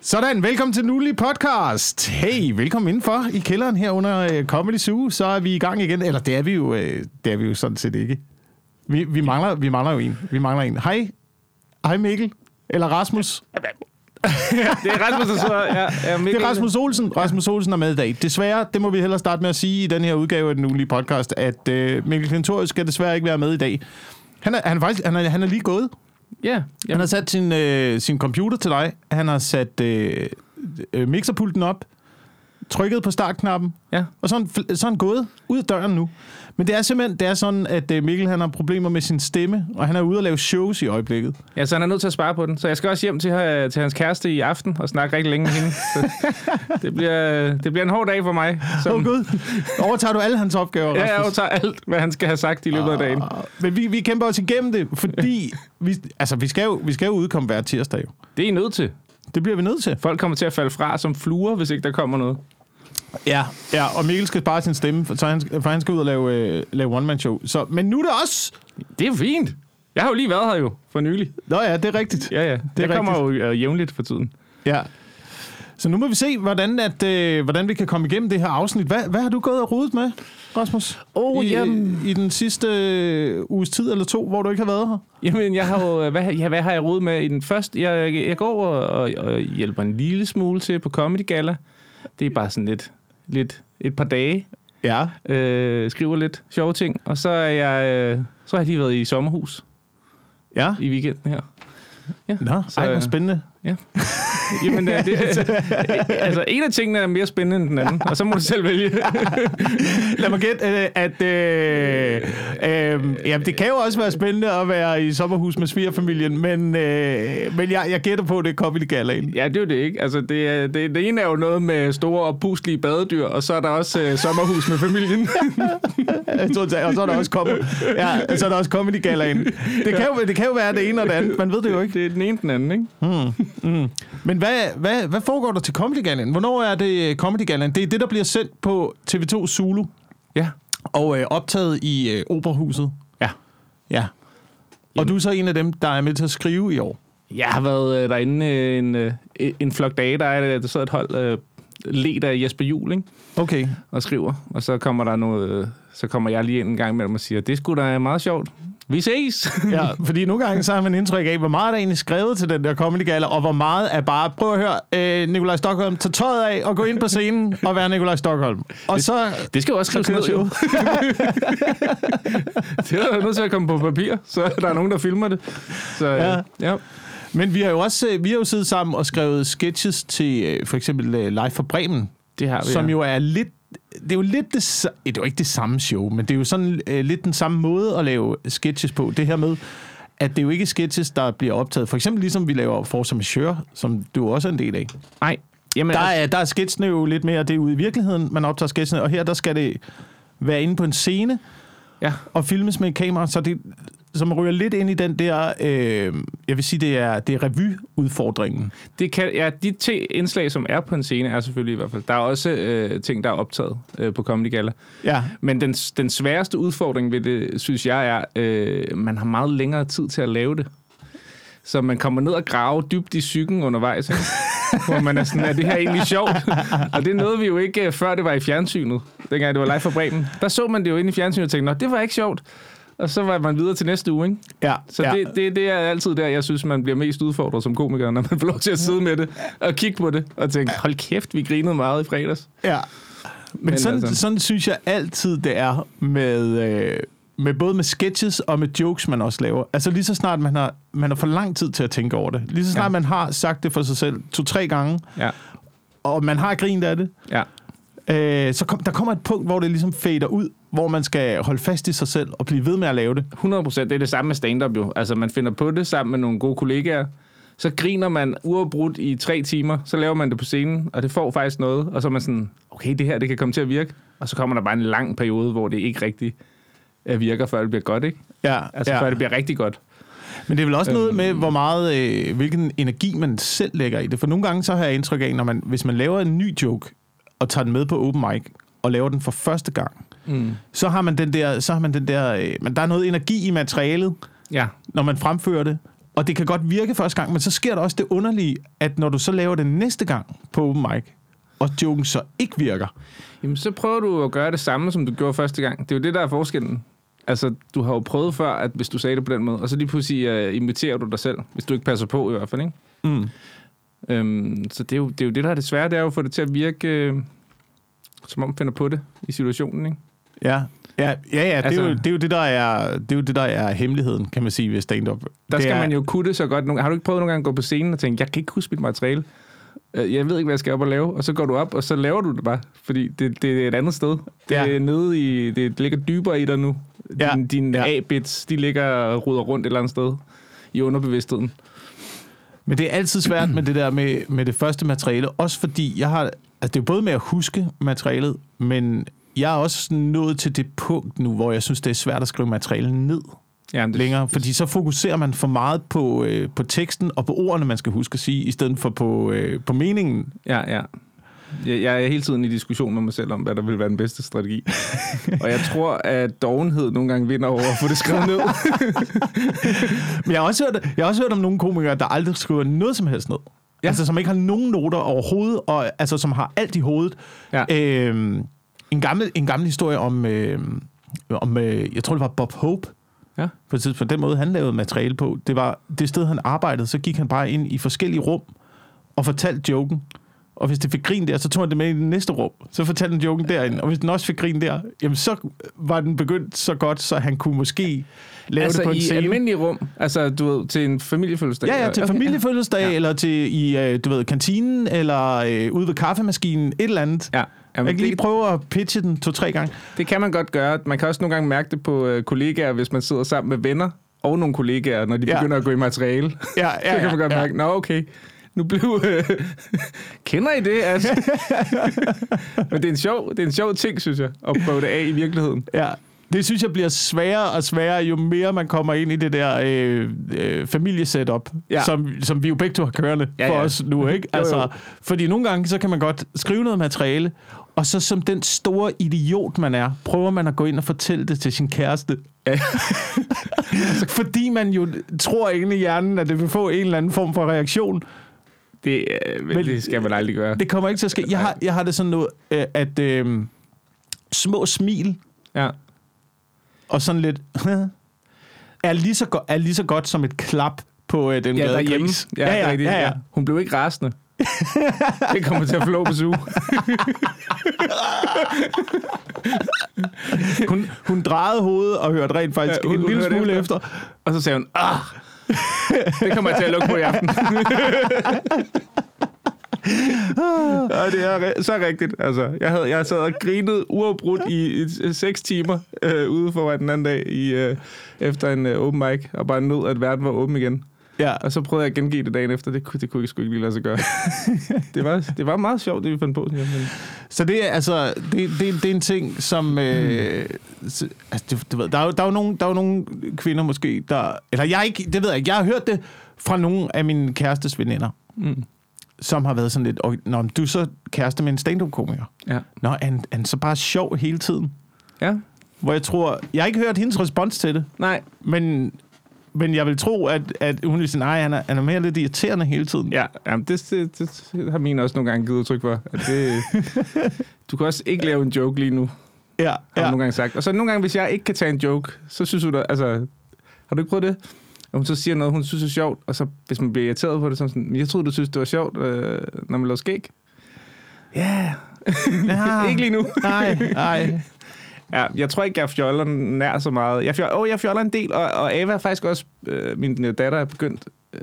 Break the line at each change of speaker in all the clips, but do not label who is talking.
Sådan, velkommen til den ugenlige podcast. Hey, velkommen indenfor i kælderen her under øh, Comedy Zoo. Så er vi i gang igen. Eller det er vi jo, øh, det er vi jo sådan set ikke. Vi, vi, mangler, vi mangler jo en. Vi mangler en. Hej. Hej Mikkel. Eller Rasmus.
Det er Rasmus, der sidder. Ja, ja,
Det er Rasmus Olsen. Rasmus Olsen er med i dag. Desværre, det må vi hellere starte med at sige i den her udgave af den ugenlige podcast, at øh, Mikkel Klintorius skal desværre ikke være med i dag. Han er, han er, faktisk, han er, han er lige gået.
Ja,
Han
jamen,
har sat sin, øh, sin computer til dig. Han har sat øh, øh, mixerpulten op, trykket på startknappen,
ja.
og så er, han, fl- så er han gået ud af døren nu. Men det er simpelthen det er sådan, at øh, Mikkel han har problemer med sin stemme, og han er ude at lave shows i øjeblikket.
ja, så han er nødt til at spare på den. Så jeg skal også hjem til, her, til hans kæreste i aften og snakke rigtig længe med hende. Så det, bliver, øh, det bliver en hård dag for mig.
Åh oh, gud, overtager du alle hans opgaver,
ja, jeg
Rasmus? Ah.
overtager alt, hvad han skal have sagt i løbet af dagen.
Men vi, vi kæmper os igennem det, fordi vi, altså, vi, skal jo, vi skal jo udkomme hver tirsdag. Jo.
Det er I nødt til.
Det bliver vi nødt til.
Folk kommer til at falde fra som fluer, hvis ikke der kommer noget.
Ja, ja og Mikkel skal spare sin stemme, for, så han, for han skal ud og lave, øh, lave one-man-show. Så, men nu er det os!
Det er fint. Jeg har jo lige været her jo, for nylig.
Nå ja, det er rigtigt.
Ja, ja. Det jeg
rigtigt.
kommer jo øh, jævnligt for tiden.
Ja. Så nu må vi se, hvordan, at, øh, hvordan vi kan komme igennem det her afsnit. Hvad, hvad har du gået og rodet med, Rasmus?
Åh,
I,
jamen.
I den sidste øh, uges tid eller to, hvor du ikke har været her?
Jamen, jeg har jo, øh, hvad, ja, hvad har jeg rodet med i den første? Jeg, jeg går og, og, og hjælper en lille smule til på Comedy Gala. Det er bare sådan lidt, lidt et par dage.
Ja.
Øh, skriver lidt sjove ting. Og så, er jeg, øh, så har jeg lige været i sommerhus
Ja?
i weekenden her. Ja,
Nå,
så,
ej, hvor
øh,
spændende.
Jamen, øh, det, altså, en af tingene er mere spændende end den anden, og så må du selv vælge.
Lad mig gætte, øh, at... Øh, øh, jamen, det kan jo også være spændende at være i sommerhus med svigerfamilien, men, øh, men jeg, jeg gætter på, at det er Comedy Galaen.
Ja, det er jo det ikke. Altså, det, er- det, det ene er jo noget med store og puslige badedyr, og så er der også øh, sommerhus med familien.
Totalt. Og så er der også kommet, ja, så er der også Comedy Galaen. Det kan, jo, det kan jo være det ene og det andet. Man ved det jo ikke.
Det er den ene den anden, ikke?
Men hvad, hvad, hvad foregår der til Comedy Gallaen? Hvornår er det øh, Comedy Gallaen? Det er det, der bliver sendt på TV2 Zulu
Ja.
og øh, optaget i øh, Operahuset.
Ja.
Ja. Og du er så en af dem, der er med til at skrive i år.
Jeg har været øh, derinde øh, en, øh, en flok dage, der, er, der sidder et hold øh, led af Jesper Juhl, ikke?
Okay.
og skriver. Og så kommer der noget, øh, så kommer jeg lige ind en gang imellem og siger, det skulle da meget sjovt. Vi ses!
Ja, fordi nogle gange så har man indtryk af, hvor meget er der egentlig skrevet til den der Comedy Gala, og hvor meget er bare, prøv at høre, øh, Nikolaj Stockholm, tag tøjet af og gå ind på scenen og være Nikolaj Stockholm. Og så
Det skal jo også skrives
kører
ned, jo. det er jo nødt til at komme på papir, så der er nogen, der filmer det. Så,
Ja.
ja. ja.
Men vi har jo også øh, vi har jo siddet sammen og skrevet sketches til øh, for eksempel øh, Live fra Bremen,
Det har vi,
som
ja.
jo er lidt det er jo lidt det, sa- eh, det er jo ikke det samme show, men det er jo sådan øh, lidt den samme måde at lave sketches på. Det her med at det er jo ikke sketches der bliver optaget. For eksempel ligesom vi laver For som Sjør, som du også er en del af.
Nej, jamen,
Der
altså,
er, der er sketsene jo lidt mere, det er ude i virkeligheden, man optager sketsene, og her der skal det være inde på en scene,
ja.
og filmes med et kamera, så det så man ryger lidt ind i den der, øh, jeg vil sige, det er, det er revyudfordringen.
Det kan, ja, de te- indslag, som er på en scene, er selvfølgelig i hvert fald. Der er også øh, ting, der er optaget øh, på Comedy Gala.
Ja,
Men den, den sværeste udfordring ved det, synes jeg, er, øh, man har meget længere tid til at lave det. Så man kommer ned og graver dybt i psyken undervejs, ikke? hvor man er sådan, er det her egentlig sjovt? og det nåede vi jo ikke, øh, før det var i fjernsynet, dengang det var live fra Bremen. Der så man det jo inde i fjernsynet og tænkte, nå, det var ikke sjovt. Og så var man videre til næste uge, ikke?
ja,
Så
ja.
ja. det, det, det er altid der, jeg synes, man bliver mest udfordret som komiker, når man får lov til at sidde med det og kigge på det og tænke, hold kæft, vi grinede meget i fredags.
ja. Men, Men
Men
sådan, altså.
altså-
sådan synes jeg altid, det er med, øh, med både med sketches og med jokes, man også laver. Altså lige så snart man har, man har for lang tid til at tænke over det. Lige så snart ja.
Ja.
man har sagt det for sig selv to-tre gange,
Ja,
og man har grint af det,
ja.
øh, så kom, der kommer et punkt, hvor det ligesom fader ud, hvor man skal holde fast i sig selv og blive ved med at lave det.
100 procent. Det er det samme med stand-up jo. Altså, man finder på det sammen med nogle gode kollegaer. Så griner man uafbrudt i tre timer, så laver man det på scenen, og det får faktisk noget. Og så er man sådan, okay, det her, det kan komme til at virke. Og så kommer der bare en lang periode, hvor det ikke rigtig øh, virker, før det bliver godt, ikke?
Ja,
Altså,
ja. Øhm.
ja. før det bliver rigtig godt.
Men det er vel også noget med, hvor meget, øh, hvilken energi man selv lægger i det. For nogle gange så har jeg indtryk af, når man, hvis man laver en ny joke, og tager den med på open mic, og laver den for første gang,
Mm.
så har man den der, så har man den der, øh, men der er noget energi i materialet,
Ja,
når man fremfører det. Og det kan godt virke første gang, men så sker der også det underlige, at når du så laver det næste gang på open mic, og joken så ikke virker,
Jamen, så prøver du at gøre det samme, som du gjorde første gang. Det er jo det, der er forskellen. Altså, du har jo prøvet før, at hvis du sagde det på den måde, og så lige pludselig uh, imiterer du dig selv, hvis du ikke passer på i hvert fald, ikke?
mm.
Øhm, så det er, jo, det er jo det, der er det svære, det er jo at få det til at virke, øh, som om man finder på det i situationen, ikke?
Ja, ja, ja, ja altså,
Altså-
det, er jo, det, er jo det, der er, det er jo det, der er hemmeligheden, kan man sige, ved stand-up.
Der
det
skal
er,
man jo kunne det så godt. Nogle- Har du ikke prøvet nogle gange at gå på scenen og tænke, jeg kan ikke huske mit materiale. Øh, Jeg ved ikke, hvad jeg skal op og lave. Og så går du op, og så laver du det bare. Fordi det, det er et andet sted. Det,
Ja.
er nede i, det ligger dybere i dig nu.
Ja.
Din, dine
Ja.
A-bits, de ligger og ruder rundt et eller andet sted i underbevidstheden.
Men det er altid svært med det der med, med det første materiale, også fordi jeg har... Altså, det er jo både med at huske materialet, men jeg er også sådan nået til det punkt nu, hvor jeg synes, det er svært at skrive materialet ned
Jamen, det,
længere, fordi så fokuserer man for meget på, øh, på teksten og på ordene, man skal huske at sige, i stedet for på, øh, på meningen.
Ja, ja. Jeg, jeg er hele tiden i diskussion med mig selv om, hvad der vil være den bedste strategi. og jeg tror, at dovenhed nogle gange vinder over at få det skrevet ned.
Men jeg har også hørt, jeg har også hørt om nogle komikere, der aldrig skriver noget som helst ned. Ja.
Ja.
Altså, som ikke har nogen noter overhovedet, og altså, som har alt i hovedet.
Ja.
Øhm, en, gammel, en gammel historie om, øh, om øh, jeg tror, det var Bob Hope,
ja.
på et tidspunkt. Den måde, han lavede materiale på, det var det sted, han arbejdede, så gik han bare ind i forskellige rum og fortalte joken. Og hvis det fik grin der, så tog han det med i det næste rum. Så fortalte han joken derinde. Og hvis den også fik grin der, jamen så var den begyndt så godt, så han kunne måske lave
altså
det på en
i
scene.
almindelige rum? Altså, du ved, til en familiefødselsdag?
Ja, ja, til okay, familiefødselsdag, ja.
Ja.
eller til i, øh, du ved, kantinen, eller øh, ude ved kaffemaskinen, et eller andet. Ja,
Ja,
jeg
Jamen,
kan lige
det,
prøve at pitche den to-tre gange.
det kan man godt gøre. Man kan også nogle gange mærke det på øh, kollegaer, hvis man sidder sammen med venner og nogle kollegaer, når de
Ja.
ja. begynder at gå i materiale. Ja,
Ja, ja,
så kan man godt
ja,
mærke, nå okay, nu blev... Øh, kender I det? Altså? Men det er, en sjov, det er en sjov ting, synes jeg, at prøve det af i virkeligheden.
Ja, det synes jeg bliver sværere og sværere, jo mere man kommer ind i det der øh, øh, familiesetup, ja.
Ja.
som, som vi jo begge to har kørende ja,
Ja,
for ja.
ja.
os nu, ikke? Altså,
jo.
Fordi nogle gange, så kan man godt skrive noget materiale, og så som den store idiot, man er, prøver man at gå ind og fortælle det til sin kæreste.
Ja.
fordi man jo tror inde i hjernen, at det vil få en eller anden form for reaktion.
Det, øh, men,
Men-
det skal man aldrig gøre.
Det kommer ikke til at ske. Jeg har, jeg har det sådan noget, øh, at øh, små smil
Ja.
og sådan lidt er lige så, go- er lige så godt som et klap på øh, den
Ja,
glade
derhjemme.
gris.
Ja, ja, ja, ja, ja. Hun blev ikke rasende. det kommer til at flå på suge.
Hun, hun drejede hovedet og hørte rent faktisk ja,
Ja, hun-
en
hun
lille
hørte
smule efter.
efter. Og så sagde hun, ah, det kommer jeg til at lukke på i aften. ja, det er ri- så rigtigt. Altså, jeg, havde, jeg sad og grinet uafbrudt i, i 6 timer øh, ude foran den anden dag i, øh, efter en øh, open mic, og bare nød, at verden var åben igen.
Ja.
Og så prøvede jeg at gengive det dagen efter. Det, kunne- det kunne jeg sgu ikke lige lade sig gøre. det, var, det var meget sjovt, det vi fandt på. synes jeg. Men
Så det er altså det, det, det er en ting, som øh, s- altså, du, du ved, der er jo, der er jo nogle der er jo nogle kvinder måske der eller jeg er ikke det ved jeg ikke. Jeg har hørt det fra nogle af mine kærestes veninder,
Mm.
som har været sådan lidt, "Åh, nå, men du er så kæreste med en stand-up komiker.
Ja.
Nå, er han, er han så bare sjov hele tiden.
ja.
Hvor jeg tror, jeg har ikke hørt hendes respons til det.
Nej.
Men, men jeg vil tro, at, at hun vil sige, nej, han er, han er mere lidt irriterende hele tiden.
Ja, jamen det, det, det har min også nogle gange givet udtryk for. At det, du kan også ikke lave en joke lige nu, har
ja,
ja.
ja.
nogle gange sagt. Og så nogle gange, hvis jeg ikke kan tage en joke, så synes hun da, altså, har du ikke prøvet det? Og hun så siger noget, hun synes er sjovt, og så hvis man bliver irriteret på det, så er man sådan, "Men jeg troede, du synes, det var sjovt, øh, når man lavede skæg. Ja,
ja. Ah.
yeah. ikke lige nu.
Nej, nej.
Ja, jeg tror ikke, jeg fjoller nær så meget. Jeg fjoller, oh, jeg fjoller en del, og, og Ava er faktisk også, øh, min øh, datter er begyndt øh,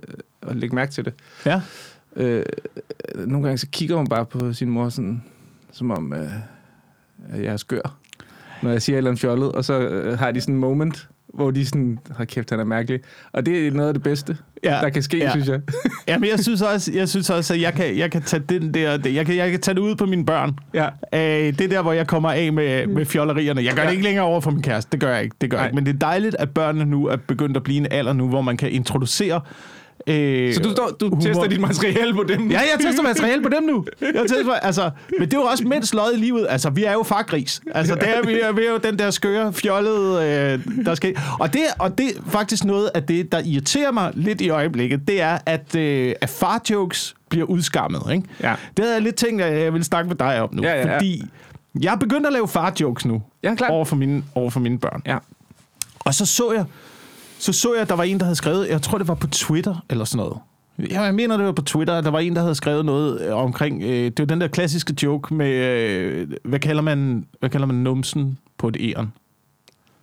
at lægge mærke til det.
Ja.
øh, nogle gange så kigger hun bare på sin mor sådan, som om øh, at jeg er skør, når jeg siger et eller andet fjollet, og så øh, har de sådan en moment, hvor de sådan, har kæft, han er mærkelig. Og det er noget af det bedste,
Ja,
ja, der kan ske,
ja.
ja. synes jeg.
ja, men jeg synes også, jeg synes også at jeg kan, jeg kan tage den der, det- jeg kan, jeg kan tage det ud på mine børn.
ja.
Øh, det er der, hvor jeg kommer af med, med fjollerierne. Jeg gør det
Ja.
ikke længere over for min kæreste. Det gør jeg ikke. Det gør jeg
Nej.
ikke. Men det er dejligt, at børnene nu er begyndt at blive en alder nu, hvor man kan introducere Øh,
Så du, står, du
humor.
tester dit materiale på dem?
Ja, jeg tester materiale på dem nu. Jeg tester, altså, men det er jo også mindst løjet i livet. Altså, vi er jo fargris. Altså, det er, vi, er, vi er jo den der skøre, fjollede, øh, der skal... Og det, og det er faktisk noget af det, der irriterer mig lidt i øjeblikket, det er, at, øh, at farjokes bliver udskammet. Ikke?
Ja.
Det havde jeg lidt tænkt, at jeg ville snakke med dig om nu.
Ja, ja, ja.
Fordi jeg er begyndt at lave farjokes nu.
Ja, klart.
Over for mine, over for mine børn.
ja.
Og så så jeg, så så jeg, at der var en, der havde skrevet, jeg tror, det var på Twitter eller sådan noget. Ja, jeg mener, det var på Twitter, at der var en, der havde skrevet noget øh, omkring, øh, det var den der klassiske joke med, øh, hvad kalder man, hvad kalder man numsen på et æren?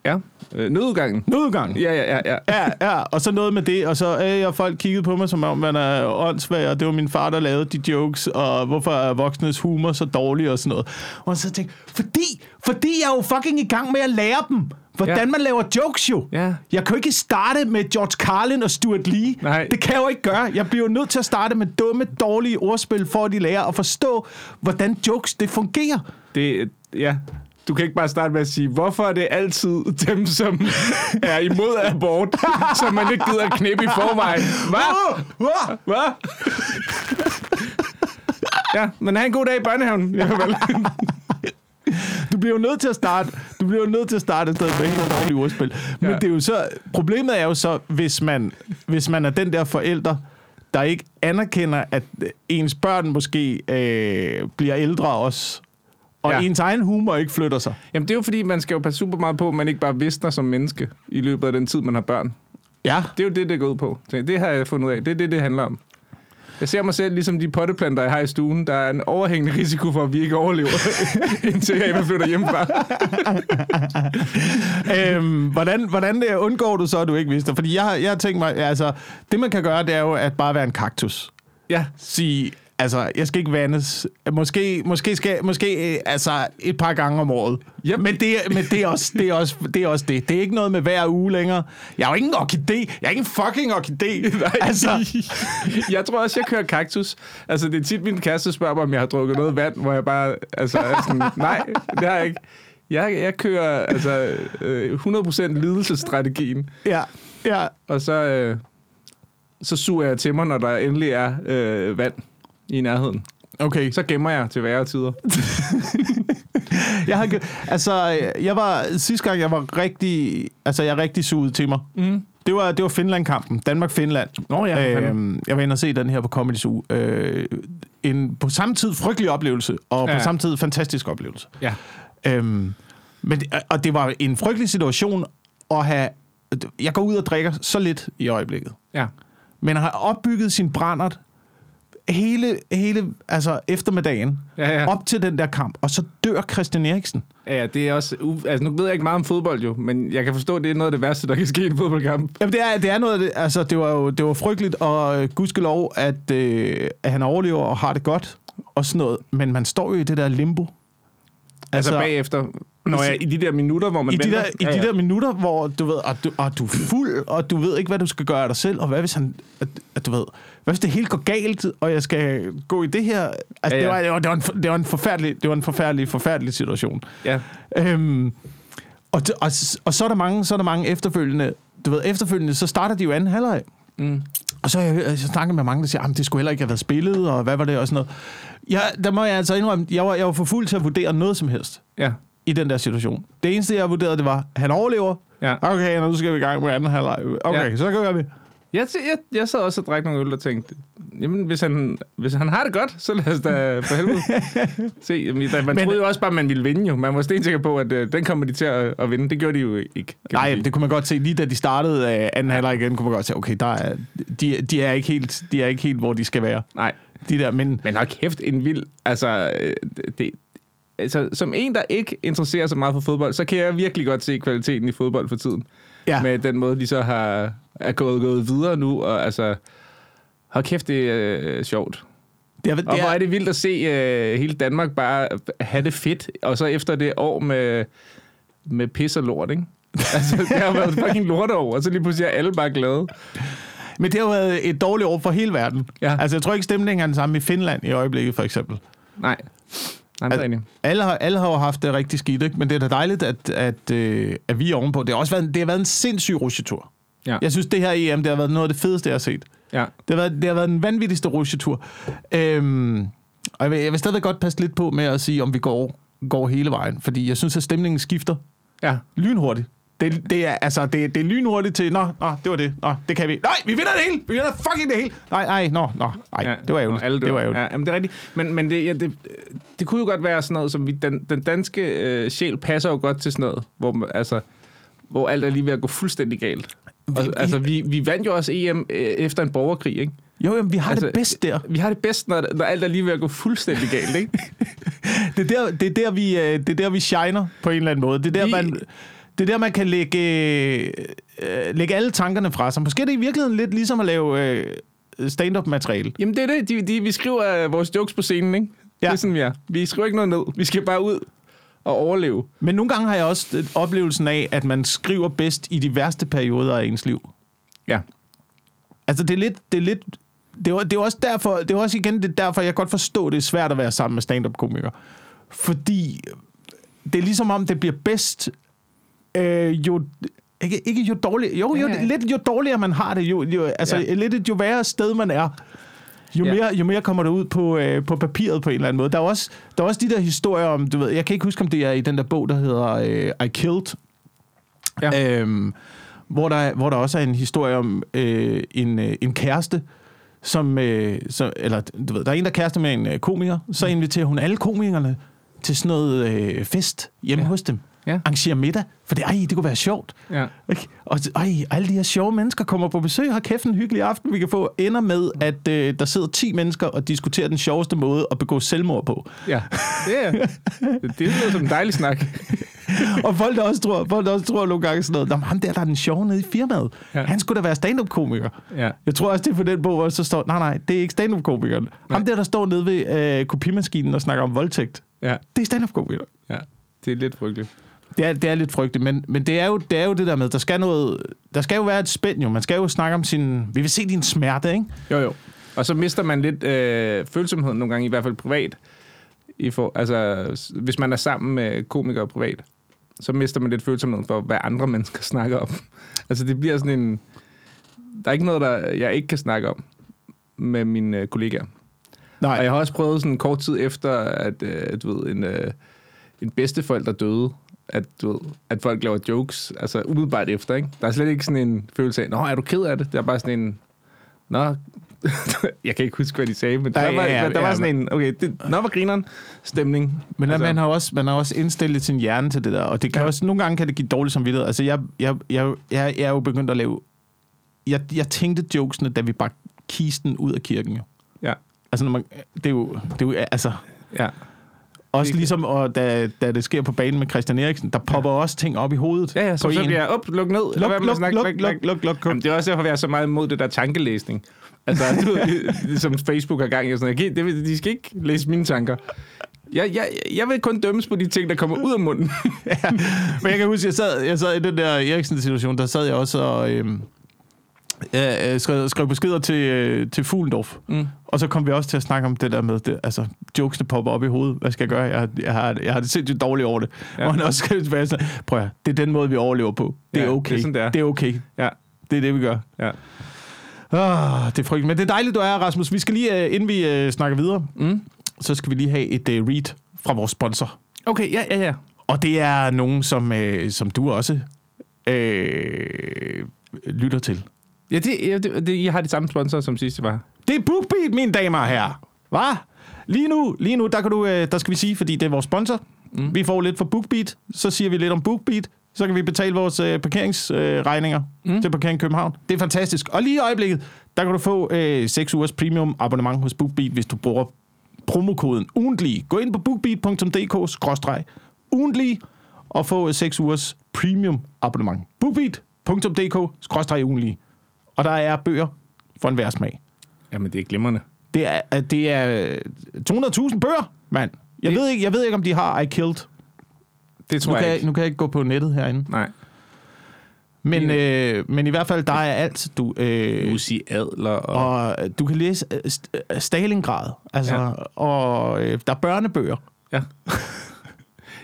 ja. Øh, nødudgangen.
Nødgang!
Ja, ja, ja. ja.
Ja, ja, og så noget med det, og så, øh, og folk kiggede på mig, som om man er åndssvag, og det var min far, der lavede de jokes, og hvorfor er voksnes humor så dårlig og sådan noget. Og så tænkte jeg, fordi, fordi jeg er jo fucking i gang med at lære dem, hvordan
Ja.
man laver jokes jo.
Ja.
Jeg kan jo ikke starte med George Carlin og Stuart Lee.
Nej.
Det kan jeg jo ikke gøre. Jeg bliver jo nødt til at starte med dumme, dårlige ordspil, for at de lærer at forstå, hvordan jokes det fungerer.
Det, ja. Du kan ikke bare starte med at sige, hvorfor er det altid dem, som er imod abort, som man ikke gider at knippe i forvejen? Hvad?
Ah! Ah!
Hvad? ja, men have en god dag i børnehaven. Ja, vel.
Du bliver jo nødt til at starte, du bliver jo nødt til at starte et sted med helt dårlige ordspil. Men
Ja.
det er jo så, problemet er jo så, hvis man, hvis man er den der forælder, der ikke anerkender, at ens børn måske øh, bliver ældre også, og
Ja.
ja. ens egen humor ikke flytter sig.
Jamen, det er jo fordi, man skal jo passe super meget på, at man ikke bare visner som menneske i løbet af den tid, man har børn.
Ja.
Det er jo det, det går ud på. Så Det har jeg fundet ud af. Det er det, det handler om. Jeg ser mig selv ligesom de potteplanter, jeg har i stuen. Der er en overhængende risiko for, at vi ikke overlever, indtil jeg flytter hjemmefra.
øhm, hvordan, hvordan øh, undgår du så, at du ikke vidste det? Fordi jeg, har- jeg har tænkt mig, altså, det man kan gøre, det er jo at bare være en kaktus.
Ja,
sige, altså, jeg skal ikke vandes. Måske, måske, skal, måske øh, altså, et par gange om året.
Yep.
Men, det, er- men det, er også, det, er også, det er også det. Det er ikke noget med hver uge længere. Jeg er jo ikke en orkidé. Jeg er ikke en fucking orkidé. altså,
jeg tror også, jeg kører kaktus. Altså, det er tit, min kæreste spørger mig, om jeg har drukket noget vand, hvor jeg bare, altså, er sådan, nej, det har jeg ikke. Jeg, jeg kører, altså, øh, 100% lidelsesstrategien,
ja, ja.
og så, øh, så suger jeg til mig, når der endelig er øh, vand i nærheden.
Okay.
Så gemmer jeg til værre tider.
Jeg har, gø- altså, øh, jeg var, sidste gang, jeg var rigtig, altså, jeg er rigtig suget til mig. Mm. Det var, det var Finland-kampen. Danmark-Finland.
Nå ja, for
øhm, jeg var inde og se den her på Comedy Zoo. Øh, en på samme tid frygtelig oplevelse, og ja.
Ja.
på samme tid fantastisk oplevelse.
Ja.
Øhm, men, det- og det var en frygtelig situation at have... Jeg går ud og drikker så lidt i øjeblikket.
Ja.
Men har opbygget sin brændert hele, hele altså eftermiddagen
Ja, ja.
op til den der kamp. Og så dør Christian Eriksen.
Ja, ja, det er også... U- altså, nu ved jeg ikke meget om fodbold jo, men jeg kan forstå, at det er noget af det værste, der kan ske i en fodboldkamp. Altså,
Jamen, det er, det er noget af det. Altså, det var jo det var frygteligt, og øh, gudskelov, at, øh, at han overlever og har det godt og sådan noget. Men man står jo i det der limbo.
Altså, altså bagefter. Når jeg, I de der minutter, hvor man
I de,
venter.
der, I de der minutter, hvor du ved, og du, og du er fuld, og du ved ikke, hvad du skal gøre af dig selv, og hvad hvis han, at, at du ved, hvad hvis det hele går galt, og jeg skal gå i det her? Altså,
Ja,
ja,
ja.
ja. Det, var, det, var, det, var en, for- det var en forfærdelig, det var en forfærdelig, forfærdelig situation.
Ja.
Øhm, og, det- og, s- og så er der mange, så er der mange efterfølgende, du ved, efterfølgende, så starter de jo anden halvleg.
Mm.
Og så har jeg, jeg snakket med mange, der siger, at det skulle heller ikke have været spillet, og hvad var det, og sådan noget. Jeg, der må jeg altså indrømme, jeg var, jeg var for fuld til at vurdere noget som helst
Ja.
i den der situation. Det eneste, jeg vurderede, det var, at han overlever.
Ja.
Okay, nu skal vi i gang med anden halvleg. Okay,
Ja.
ja. så gør vi.
Jeg, jeg, jeg sad også og drak nogle øl og tænkte, jamen hvis han, hvis han har det godt, så lad os da for helvede se. Jamen, da- man Men,
Men-
troede jo også bare, man ville vinde jo. Man var stensikker på, at øh, den kommer de til at, at vinde. Det gjorde de jo ikke. kan man
Nej,
sige.
det kunne man godt se. Lige da de startede øh, anden halvleg igen, kunne man godt se, okay, der er, de, de, er ikke helt, de er ikke helt, hvor de skal være.
Nej.
De der, men
Men nok kæft, en vild... Altså, øh, det, altså, som en, der ikke interesserer sig meget for fodbold, så kan jeg virkelig godt se kvaliteten i fodbold for tiden.
ja,
Med den måde, de så har, er gået, gået videre nu, og altså... Hold kæft, det er øh, sjovt.
det, er, det,
Og hvor er
er,
det vildt at se øh, hele Danmark bare have det fedt, og så efter det år med, med pis og lort, ikke? altså, det har været fucking lort over, og så lige pludselig er alle bare glade.
men det har jo været et dårligt år for hele verden.
Ja.
Ja. Altså, jeg tror ikke, stemningen er den samme i Finland i øjeblikket, for eksempel.
Nej, Nej
Altså,
det er rigtigt.
Alle har, alle har jo haft det rigtig skidt, ikke? men det er da dejligt, at, at, øh, at, at vi er ovenpå. Det E har også været, en- det har været en sindssyg rusjetur.
Ja.
Jeg synes, det her EM, det har været noget af det fedeste, jeg har set.
Ja.
Det har været, det har været den vanvittigste rusjetur. Øhm, og jeg vil, jeg vil stadig godt passe lidt på med at sige, om vi går, går hele vejen, fordi jeg synes, at stemningen skifter
Ja.
lynhurtigt. Det, det, er, altså, det, det er lynhurtigt til, nå, nå, det var det, nå, det kan vi. Nej, vi vinder det hele, vi vinder fucking det hele. Nej, nej, nå, nå, nej, ja, det var ærgerligt,
alle dør.
det var ærgerligt.
Ja, jamen, det er rigtigt. Men, men det, ja, det, det kunne jo godt være sådan noget, som vi, den, den danske øh, sjæl passer jo godt til sådan noget, hvor, man- altså, hvor alt er lige ved at gå fuldstændig galt. Og,
Vi-
altså, vi, vi vandt jo også EM øh, efter en borgerkrig, ikke?
Jo, jamen, vi har altså, det
Altså,
bedst der.
Vi har det bedst, når, når alt er lige ved at gå fuldstændig galt, ikke?
Det er der, det er der, vi, øh, det er der vi shiner på en eller anden måde. Det er der,
Vi-
man, det er der man kan lægge, øh, øh, lægge alle tankerne fra sig. Måske er det i virkeligheden lidt ligesom at lave øh, stand-up-materiale.
Jamen, det er det. De, de, vi skriver øh, vores jokes på scenen, ikke?
Ja.
Ja. Det er sådan, vi er. Vi skriver ikke noget ned. Vi skal bare ud og overleve.
Men nogle gange har jeg også øh, oplevelsen af, at man skriver bedst i de værste perioder af ens liv.
Ja.
Altså, det er lidt... Det er lidt det er, det er også derfor, det er også igen det er derfor, jeg godt forstår, det er svært at være sammen med stand-up-komikere. Fordi det er ligesom om, det bliver bedst, øh, jo, ikke, ikke jo dårligere, jo, jo,
Ja, ja,
ja,
ja.
lidt jo dårligere man har det, jo, jo altså
Ja.
ja. lidt et jo værre sted man er, jo,
Ja.
mere, jo mere kommer det ud på, øh, på papiret på en eller anden måde. Der er, også, der er også de der historier om, du ved, jeg kan ikke huske, om det er i den der bog, der hedder øh, I Killed,
Ja.
ja. øhm, hvor, der, hvor der også er en historie om øh, en, øh, en kæreste, som, øh, så, eller du ved, der er en, der er kæreste med en øh, komiker,
Mm.
så inviterer hun alle komikerne til sådan noget øh, fest hjemme
Ja.
ja. hos dem.
Ja.
Arrangerer middag, for det, ej, det kunne være sjovt.
Ja.
Ikke? Og så- ej, alle de her sjove mennesker kommer på besøg, har kæft en hyggelig aften, vi kan få. Ender med, at øh, der sidder 10 mennesker og diskuterer den sjoveste måde at begå selvmord på.
Ja. Yeah. Det lyder som en dejlig snak.
og folk der også tror, folk der også tror nogle gange sådan noget, "Nå, men ham der, der er den sjove nede i firmaet,
Ja.
ja. han skulle da være stand-up-komiker.
Ja.
Jeg tror også, det er på den bog, hvor der så står, nej, nej, det er ikke stand-up-komikeren. Ham der, der står nede ved øh, kopimaskinen og snakker om voldtægt,
Ja.
det er stand-up-komikeren.
ja. Det er lidt frygteligt.
Det er, det er lidt frygteligt, men, men det, er jo, det er jo det der med, der skal, noget, der skal jo være et spænd jo. Man skal jo snakke om sin... Vi vil se din smerte, ikke?
Jo, jo. Og så mister man lidt øh, følsomheden nogle gange, i hvert fald privat. I for, altså, s- hvis man er sammen med komikere privat, så mister man lidt følsomheden for, hvad andre mennesker snakker om. Altså, det bliver sådan en... Der er ikke noget, der jeg ikke kan snakke om med mine øh, kollegaer.
Nej,
Og jeg har også prøvet sådan kort tid efter, at øh, du ved, en, øh, en bedsteforælder døde, at, du ved, at folk laver jokes, altså umiddelbart efter, ikke? Der er slet ikke sådan en følelse af, nå, er du ked af det? Der er bare sådan en, nå, jeg kan ikke huske, hvad de sagde, men der,
Nej,
var,
ja, ja,
der var
ja,
sådan en, okay, det, nå, var grineren, stemning.
Men altså,
altså,
man, har også, man har også indstillet sin hjerne til det der, og det kan
Ja.
ja. også, nogle gange kan det give dårlig samvittighed. Altså, jeg, jeg, jeg, jeg, jeg er jo begyndt at lave... Jeg, jeg tænkte jokesene, da vi bare kisten ud af kirken, jo.
Ja,
Altså, når man, det er jo... Det er jo altså,
ja,
også
Det-
ligesom, og da, da det sker på banen med Christian Eriksen, der popper ja. også ting op i hovedet
ja, ja så,
på
så
en.
bliver jeg op, luk ned, lad
Luk,
være med at
luk,
snakke,
luk, luk,
luk,
luk, luk,
Jamen, det er også derfor, jeg er så meget imod det der tankelæsning. Altså, du ved, ligesom Facebook har gang i og sådan noget. Okay, det vil- De skal ikke læse mine tanker. Jeg, jeg, jeg vil kun dømmes på de ting, der kommer ud af munden.
Men jeg kan huske, jeg sad, jeg sad i den der Eriksen-situation, der sad jeg også og øhm, ja, øh, skrev, skrev beskeder til, øh, til Fuglendorf.
Mm.
Og så kom vi også til at snakke om det der med, det, altså, jokesene popper op i hovedet. Hvad skal jeg gøre? Jeg, har- jeg, har, jeg har det sindssygt dårligt over det.
Ja.
Ja. Og han også skrev tilbage, sådan, prøv at, høre, det er den måde, vi overlever på. Det er
Ja, det er
okay.
sådan, det er."
det er okay.
Ja,
Det er det, vi gør.
ja.
Ah, det er frygteligt. Men det er dejligt, du er her, Rasmus. Vi skal lige, øh, inden vi øh, snakker videre,
Mm.
så skal vi lige have et øh, read fra vores sponsor.
Okay, ja, ja, ja.
Og det er nogen, som, øh, som du også øh, lytter til.
Ja, det, ja det, det, I har de samme sponsorer, som sidste var.
Det er BookBeat, mine damer og herrer. Hva? Lige nu, lige nu der, kan du, øh, der skal vi sige, fordi det er vores sponsor. Mm. Vi får lidt fra BookBeat, så siger vi lidt om BookBeat. Så kan vi betale vores øh, parkeringsregninger øh, regninger til Parkering København. Det er fantastisk. Og lige i øjeblikket, der kan du få øh, 6 ugers premium abonnement hos BookBeat, hvis du bruger promokoden ugentlig. Gå ind på bookbeat.dk-ugentlig og få 6 ugers premium abonnement. bookbeat.dk-ugentlig. Og der er bøger for enhver smag.
Jamen, det er glimrende.
Det er, at det er øh, 200.000 bøger, mand. Jeg
Det-
ved, ikke, jeg ved ikke, om de har I Killed.
Det tror
Nu
jeg,
kan jeg,
ikke.
nu kan jeg ikke gå på nettet herinde.
Nej.
Men, øh, men i hvert fald, der er alt. Du, øh,
Lucy Adler og... og
og øh, du kan læse øh, St- øh, Stalingrad. Altså,
Ja.
ja. Og øh, der er børnebøger.
ja.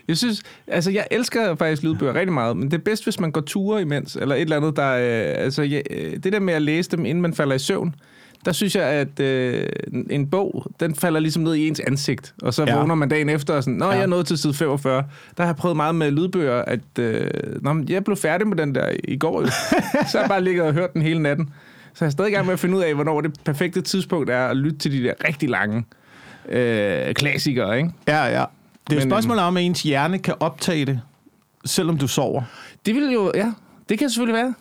Jeg synes, altså jeg elsker faktisk lydbøger rigtig meget, men det er bedst, hvis man går ture imens, eller et eller andet, der, øh, altså ja, øh, det der med at læse dem, inden man falder i søvn, der synes jeg, at øh, en bog, den falder ligesom ned i ens ansigt. Og så
Ja.
ja. vågner man dagen efter og sådan, nå,
Ja.
ja. jeg er nået til side 45. Der har jeg prøvet meget med lydbøger, at øh, nå, men jeg blev færdig med den der i går. jo." så har jeg bare ligget og hørt den hele natten. Så jeg er stadig i gang med at finde ud af, hvornår det perfekte tidspunkt er at lytte til de der rigtig lange øh, klassikere, ikke?
Ja, ja. Det er et
Men,
spørgsmål om, at ens hjerne kan optage det, selvom du sover.
Det vil jo, ja, det kan selvfølgelig være.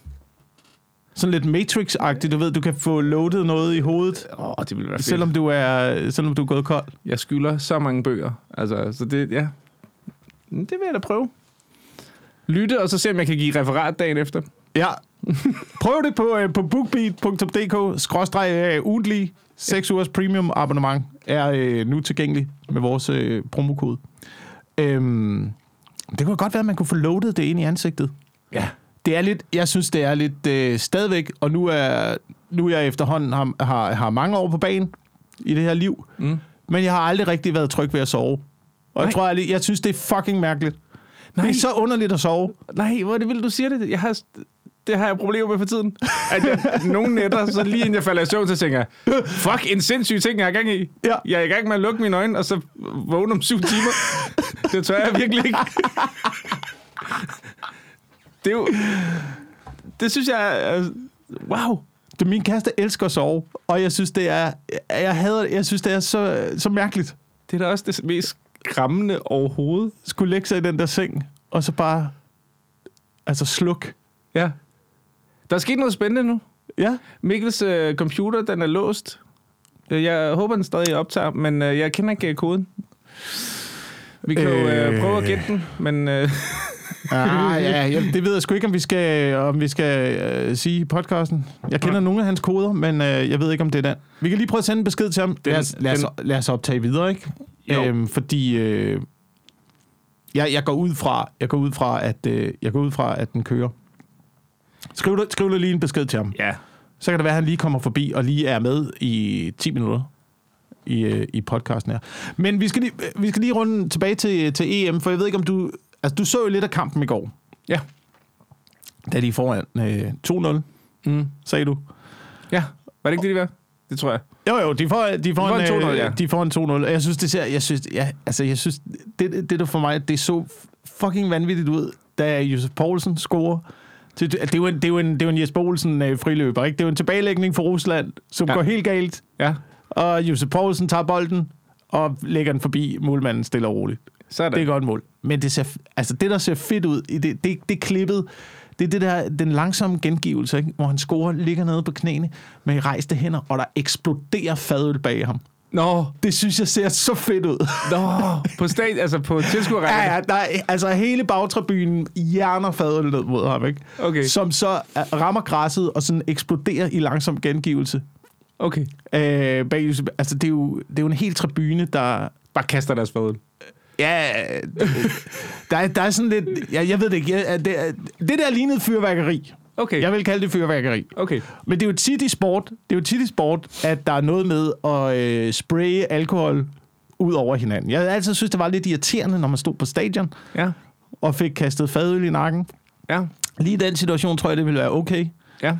Sådan lidt Matrix-agtigt, du ved, du kan få loadet noget i hovedet,
Åh, oh, det ville være fedt.
selvom du er, selvom du er gået kold.
Jeg skylder så mange bøger. Altså, så det, ja. Men Det vil jeg da prøve. Lytte, og så se, om jeg kan give referat dagen efter.
Ja. Prøv det på, øh, på bookbeat.dk, skråstreg øh, ugentlig. 6 ugers premium abonnement er øh, nu tilgængelig med vores øh, promokode. Øhm, det kunne godt være, at man kunne få loadet det ind i ansigtet.
Ja.
Det er lidt, jeg synes, det er lidt øh, stadigvæk, og nu er, nu er jeg efterhånden har, har, har mange år på banen i det her liv,
Mm.
men jeg har aldrig rigtig været tryg ved at sove. Og
Nej.
jeg tror, jeg, jeg synes, det er fucking mærkeligt. Nej.
Nej.
Det er så underligt at sove.
Nej, hvor er det vildt, du siger det. Jeg har, det har jeg problemer med for tiden. At jeg, nogle nætter, så lige inden jeg falder i søvn, så tænker jeg, fuck, en sindssyg ting, jeg er i gang i.
Ja.
Jeg er i gang med at lukke mine øjne, og så vågne om syv timer. det tør jeg virkelig ikke. det er jo... Det synes jeg er... Wow.
Det, min kæreste elsker at sove, og jeg synes, det er, jeg hader, jeg synes, det er så, så mærkeligt
Det er da også det mest skræmmende overhovedet.
skulle lægge sig i den der seng, og så bare altså sluk.
Ja. Der er sket noget spændende nu.
Ja,
Mikkels øh, computer, den er låst. Øh, Jeg håber, den stadig optager, men øh, jeg kender ikke øh, koden. Vi kan jo øh,
Øh.
prøve at gætte den, men øh,
ah, ja ja, det ved jeg sgu ikke, om vi skal, om vi skal øh, sige i podcasten. Jeg kender nogle af hans koder, men øh, jeg ved ikke, om det er den. Vi kan lige prøve at sende en besked til ham. Den, lad, os, lad, os, lad os optage videre, ikke?
Jo.
Øhm, fordi øh, jeg, jeg, går ud fra, jeg går ud fra, at øh, jeg går ud fra, at den kører. Skriv, du- skriv du lige en besked til ham.
ja.
Så kan det være, at han lige kommer forbi og lige er med i 10 minutter i, øh, i podcasten her. Men vi skal lige, øh, vi skal lige runde tilbage til, til EM, for jeg ved ikke, om du... Altså, du så jo lidt af kampen i går,
Ja.
da de er foran øh, 2-0,
Mm.
sagde du.
Ja. Var det ikke det, de var? Det tror jeg.
Jo, jo, de får, de får,
får en 2-0,
øh,
ja.
De får en 2-0, og jeg synes, det ser... Jeg synes, ja, altså, jeg synes, det, det der for mig, det så fucking vanvittigt ud, da Josef Poulsen scorer. Det, det, er jo en, det, er jo en, det er jo en Jesper Olsen øh, friløber, ikke? Det er jo en tilbagelægning for Rusland, som ja.
Ja.
går helt galt.
Ja.
Og Josef Poulsen tager bolden og lægger den forbi målmanden stille og roligt.
Sådan.
Det er et godt mål. Men det, ser, altså det der ser fedt ud, i det, det, det er klippet, det er det der, den langsomme gengivelse, ikke? hvor han scorer, ligger nede på knæene med rejste hænder, og der eksploderer fadøl bag ham.
Nå.
Det synes jeg ser så fedt ud.
Nå. På stat, altså på tilskuerrækken.
ja, ja, der er, altså hele bagtribunen hjerner fadøl ned mod ham, ikke?
Okay.
som så øh, rammer græsset og sådan eksploderer i langsom gengivelse.
Okay.
Øh, bag, Josef- altså det er, jo, det er jo en hel tribune, der,
Bare kaster deres fadøl.
Ja, der er, der er sådan lidt... Jeg, jeg ved det ikke. Jeg, det, er- det der lignede fyrværkeri.
Okay.
Jeg vil kalde det fyrværkeri.
Okay.
Men det er jo tit i sport, det er jo tit i sport at der er noget med at øh, spraye alkohol ud over hinanden. Jeg havde altid synes, det var lidt irriterende, når man stod på stadion
Ja.
og fik kastet fadøl i nakken.
Ja.
Lige i den situation tror jeg, det ville være okay.
Ja.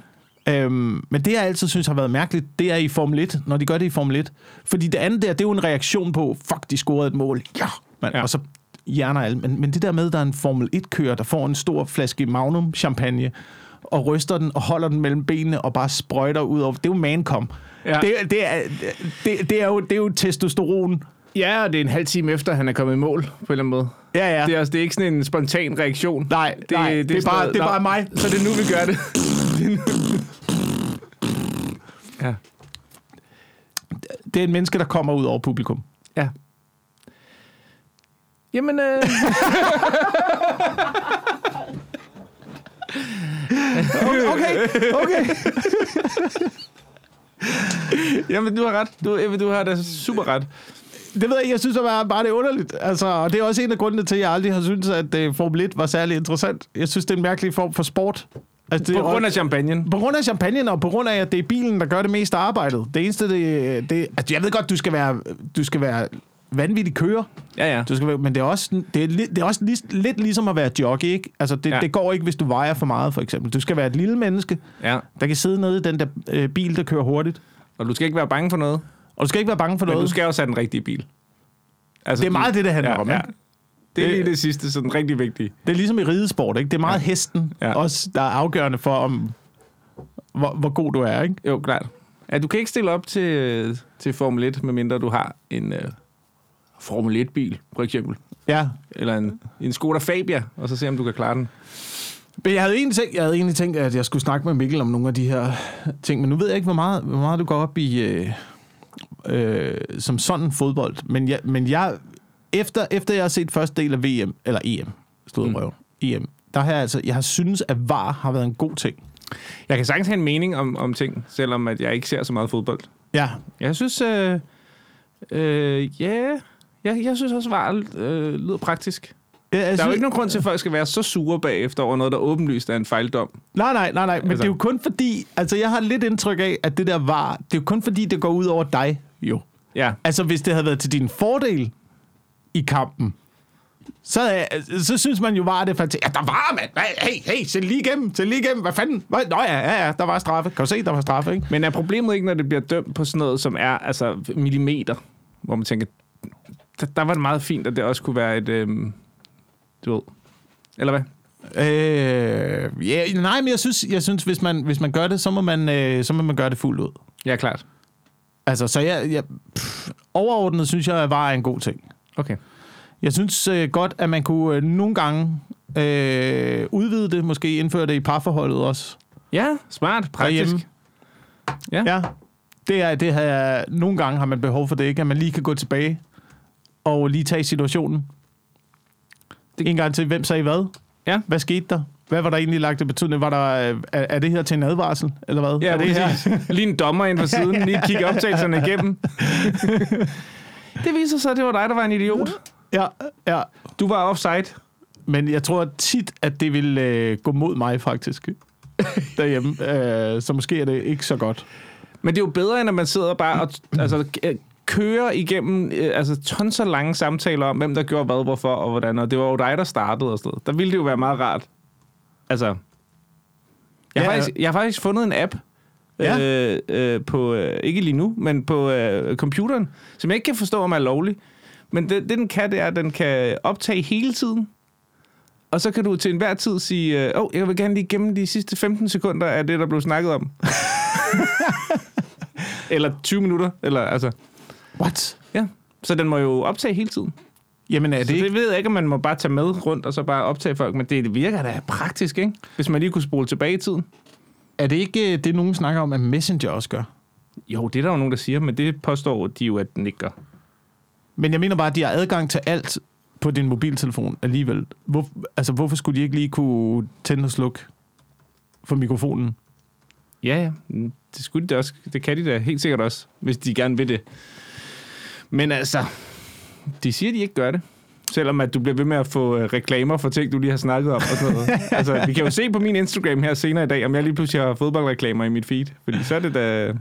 Øhm, men det, jeg altid synes har været mærkeligt, det er i Formel 1, når de gør det i Formel 1. Fordi det andet der, det er jo en reaktion på, fuck, de scorede et mål. Ja! Man, ja.
Ja.
Og så hjerner alle. Men, men det der med, der er en Formel 1-kører, der får en stor flaske Magnum champagne, og ryster den og holder den mellem benene og bare sprøjter ud over. Det er jo mancom. Ja.
Ja.
Det, det, er, det, det, er jo, det er jo testosteron.
Ja, og det er en halv time efter, han er kommet i mål, på en eller anden måde.
Ja, ja.
Det er, også, det er ikke sådan en spontan reaktion.
nej, det, nej, det, det, er
sådan
bare,
noget-
det er
Nå,
bare mig.
Så det er nu, vi gør det. ja.
Det er en menneske, der kommer ud over publikum.
Ja. Jamen, øh...
Okay, okay.
Jamen, du har ret. Du, Ebbe, du har da super ret.
Det ved jeg, ikke. jeg synes det var bare det er underligt. Altså, og det er også en af grundene til, at jeg aldrig har syntes, at uh, Formel 1 var særlig interessant. Jeg synes, det er en mærkelig form for sport. Altså, det
På
er også-
grund af champagnen.
på grund af champagnen, og på grund af, at det er bilen, der gør det meste af arbejdet. Det eneste, det... det altså, jeg ved godt, du skal være, du skal være vanvittig kører,
Ja, ja.
du skal være, men det er også, det er, li- det er også lis, lidt ligesom at være jockey, ikke? Altså, det, ja.
Ja.
det går ikke, hvis du vejer for meget, for eksempel. Du skal være et lille menneske,
ja.
der kan sidde nede i den der øh, bil, der kører hurtigt.
Og du skal ikke være bange for noget,
Og du skal ikke være bange for
men
noget.
du skal også have den rigtige bil. Altså,
Det er meget det, det handler om, ikke?
Det er
Det-
lige det sidste, sådan rigtig vigtige.
Det er ligesom i ridesport, ikke? Det er meget ja. hesten, ja.
Ja.
også, der er afgørende for, om, hvor, hvor god du er, ikke?
Jo, klart. Ja, du kan ikke stille op til, til Formel 1, medmindre du har en øh, Formel 1-bil, for eksempel.
Ja.
Eller en, en Skoda Fabia, og så se, om du kan klare den.
Men jeg havde, egentlig tænkt, jeg havde egentlig tænkt, at jeg skulle snakke med Mikkel om nogle af de her ting, men nu ved jeg ikke, hvor meget, hvor meget du går op i øh, øh, som sådan fodbold. Men jeg, men jeg efter, efter jeg har set første del af VM, eller EM, stod mm.
Mm.
røven, EM, der har jeg altså, jeg har synes, at VAR har været en god ting.
Jeg kan sagtens have en mening om, om ting, selvom at jeg ikke ser så meget fodbold.
Ja,
Jeg synes, øh, øh, ja, jeg, jeg synes også, var øh, lyder praktisk.
det,
Der er jo ikke
nogen...
nogen grund til, at folk skal være så sure bagefter over noget, der åbenlyst er en fejldom.
Nej, nej, nej, nej, men altså...
Altså-
det er jo kun fordi, altså jeg har lidt indtryk af, at det der VAR, det er jo kun fordi, det går ud over dig, jo.
Ja,
Altså, hvis det havde været til din fordel i kampen, så, øh, så synes man jo bare, det er fantastisk. Ja, der var, mand! Hvad? Hey, hey, se lige igennem, se lige igennem. Hvad fanden? Hvad? Nå ja, ja, ja, der var straffe. Kan du se, der var straffe, ikke?
men er problemet ikke, når det bliver dømt på sådan noget, som er altså millimeter, hvor man tænker, der, der var det meget fint, at det også kunne være et, øh, du ved, eller hvad?
Øh, ja, nej, men jeg synes, jeg synes hvis, man, hvis man gør det, så må man, øh, så må man gøre det fuldt ud.
Ja, klart.
Altså, så jeg, jeg pff, overordnet synes jeg, at var en god ting.
Okay.
Jeg synes øh, godt, at man kunne øh, nogle gange øh, udvide det, måske indføre det i parforholdet også.
Ja, smart, praktisk.
Derhjemme.
Ja.
Ja, det er, det her, nogle gange har man behov for det, ikke? At man lige kan gå tilbage og lige tage situationen. Det...
Det-
En gang til, hvem sagde hvad?
Ja.
Hvad skete der? Hvad var der egentlig lagt af betydning? Var der, øh, er, er det her til en advarsel, eller hvad?
Ja,
er det
det her. Lige en dommer ind på siden, lige kigge optagelserne igennem. det viser sig, at det var dig, der var en idiot.
Ja, ja.
Du var offside.
Men jeg tror tit, at det vil øh, gå mod mig, faktisk, derhjemme. Øh, så måske er det ikke så godt.
Men det er jo bedre, end at man sidder bare og altså, k- kører igennem øh, altså, tons af lange samtaler om, hvem der gjorde hvad, hvorfor og hvordan. Og det var jo dig, der startede og sådan noget. Der ville det jo være meget rart. Altså, jeg,
Ja,
ja,
ja.
har, faktisk, jeg har faktisk fundet en app,
Ja.
øh, øh, på, øh, ikke lige nu, men på øh, computeren, som jeg ikke kan forstå, om er lovlig. Men det, det, den kan, det er, at den kan optage hele tiden. Og så kan du til enhver tid sige, øh, åh, oh, jeg vil gerne lige gemme de sidste 15 sekunder af det, der blev snakket om. eller 20 minutter, eller altså,
What?
ja. Så den må jo optage hele tiden.
Jamen, er det,
Så
ikke...
det ved jeg ikke, om man må bare tage med rundt og så bare optage folk, men det, det virker da praktisk, ikke? Hvis man lige kunne spole tilbage i tiden.
er det ikke øh, det, nogen snakker om, at Messenger også gør?
Jo, det er der jo nogen, der siger, men det påstår de jo, at den ikke gør.
Men jeg mener bare, at de har adgang til alt på din mobiltelefon alligevel. Hvor, altså, hvorfor skulle de ikke lige kunne tænde og slukke for mikrofonen?
Ja, ja. Mm, Det, skulle de da også. det kan de da helt sikkert også, hvis de gerne vil det. Men altså, de siger, de ikke gør det. Selvom at du bliver ved med at få øh, reklamer for ting, du lige har snakket om og sådan noget. altså, vi kan jo se på min Instagram her senere i dag, om jeg lige pludselig har fodboldreklamer i mit feed. Fordi så er det da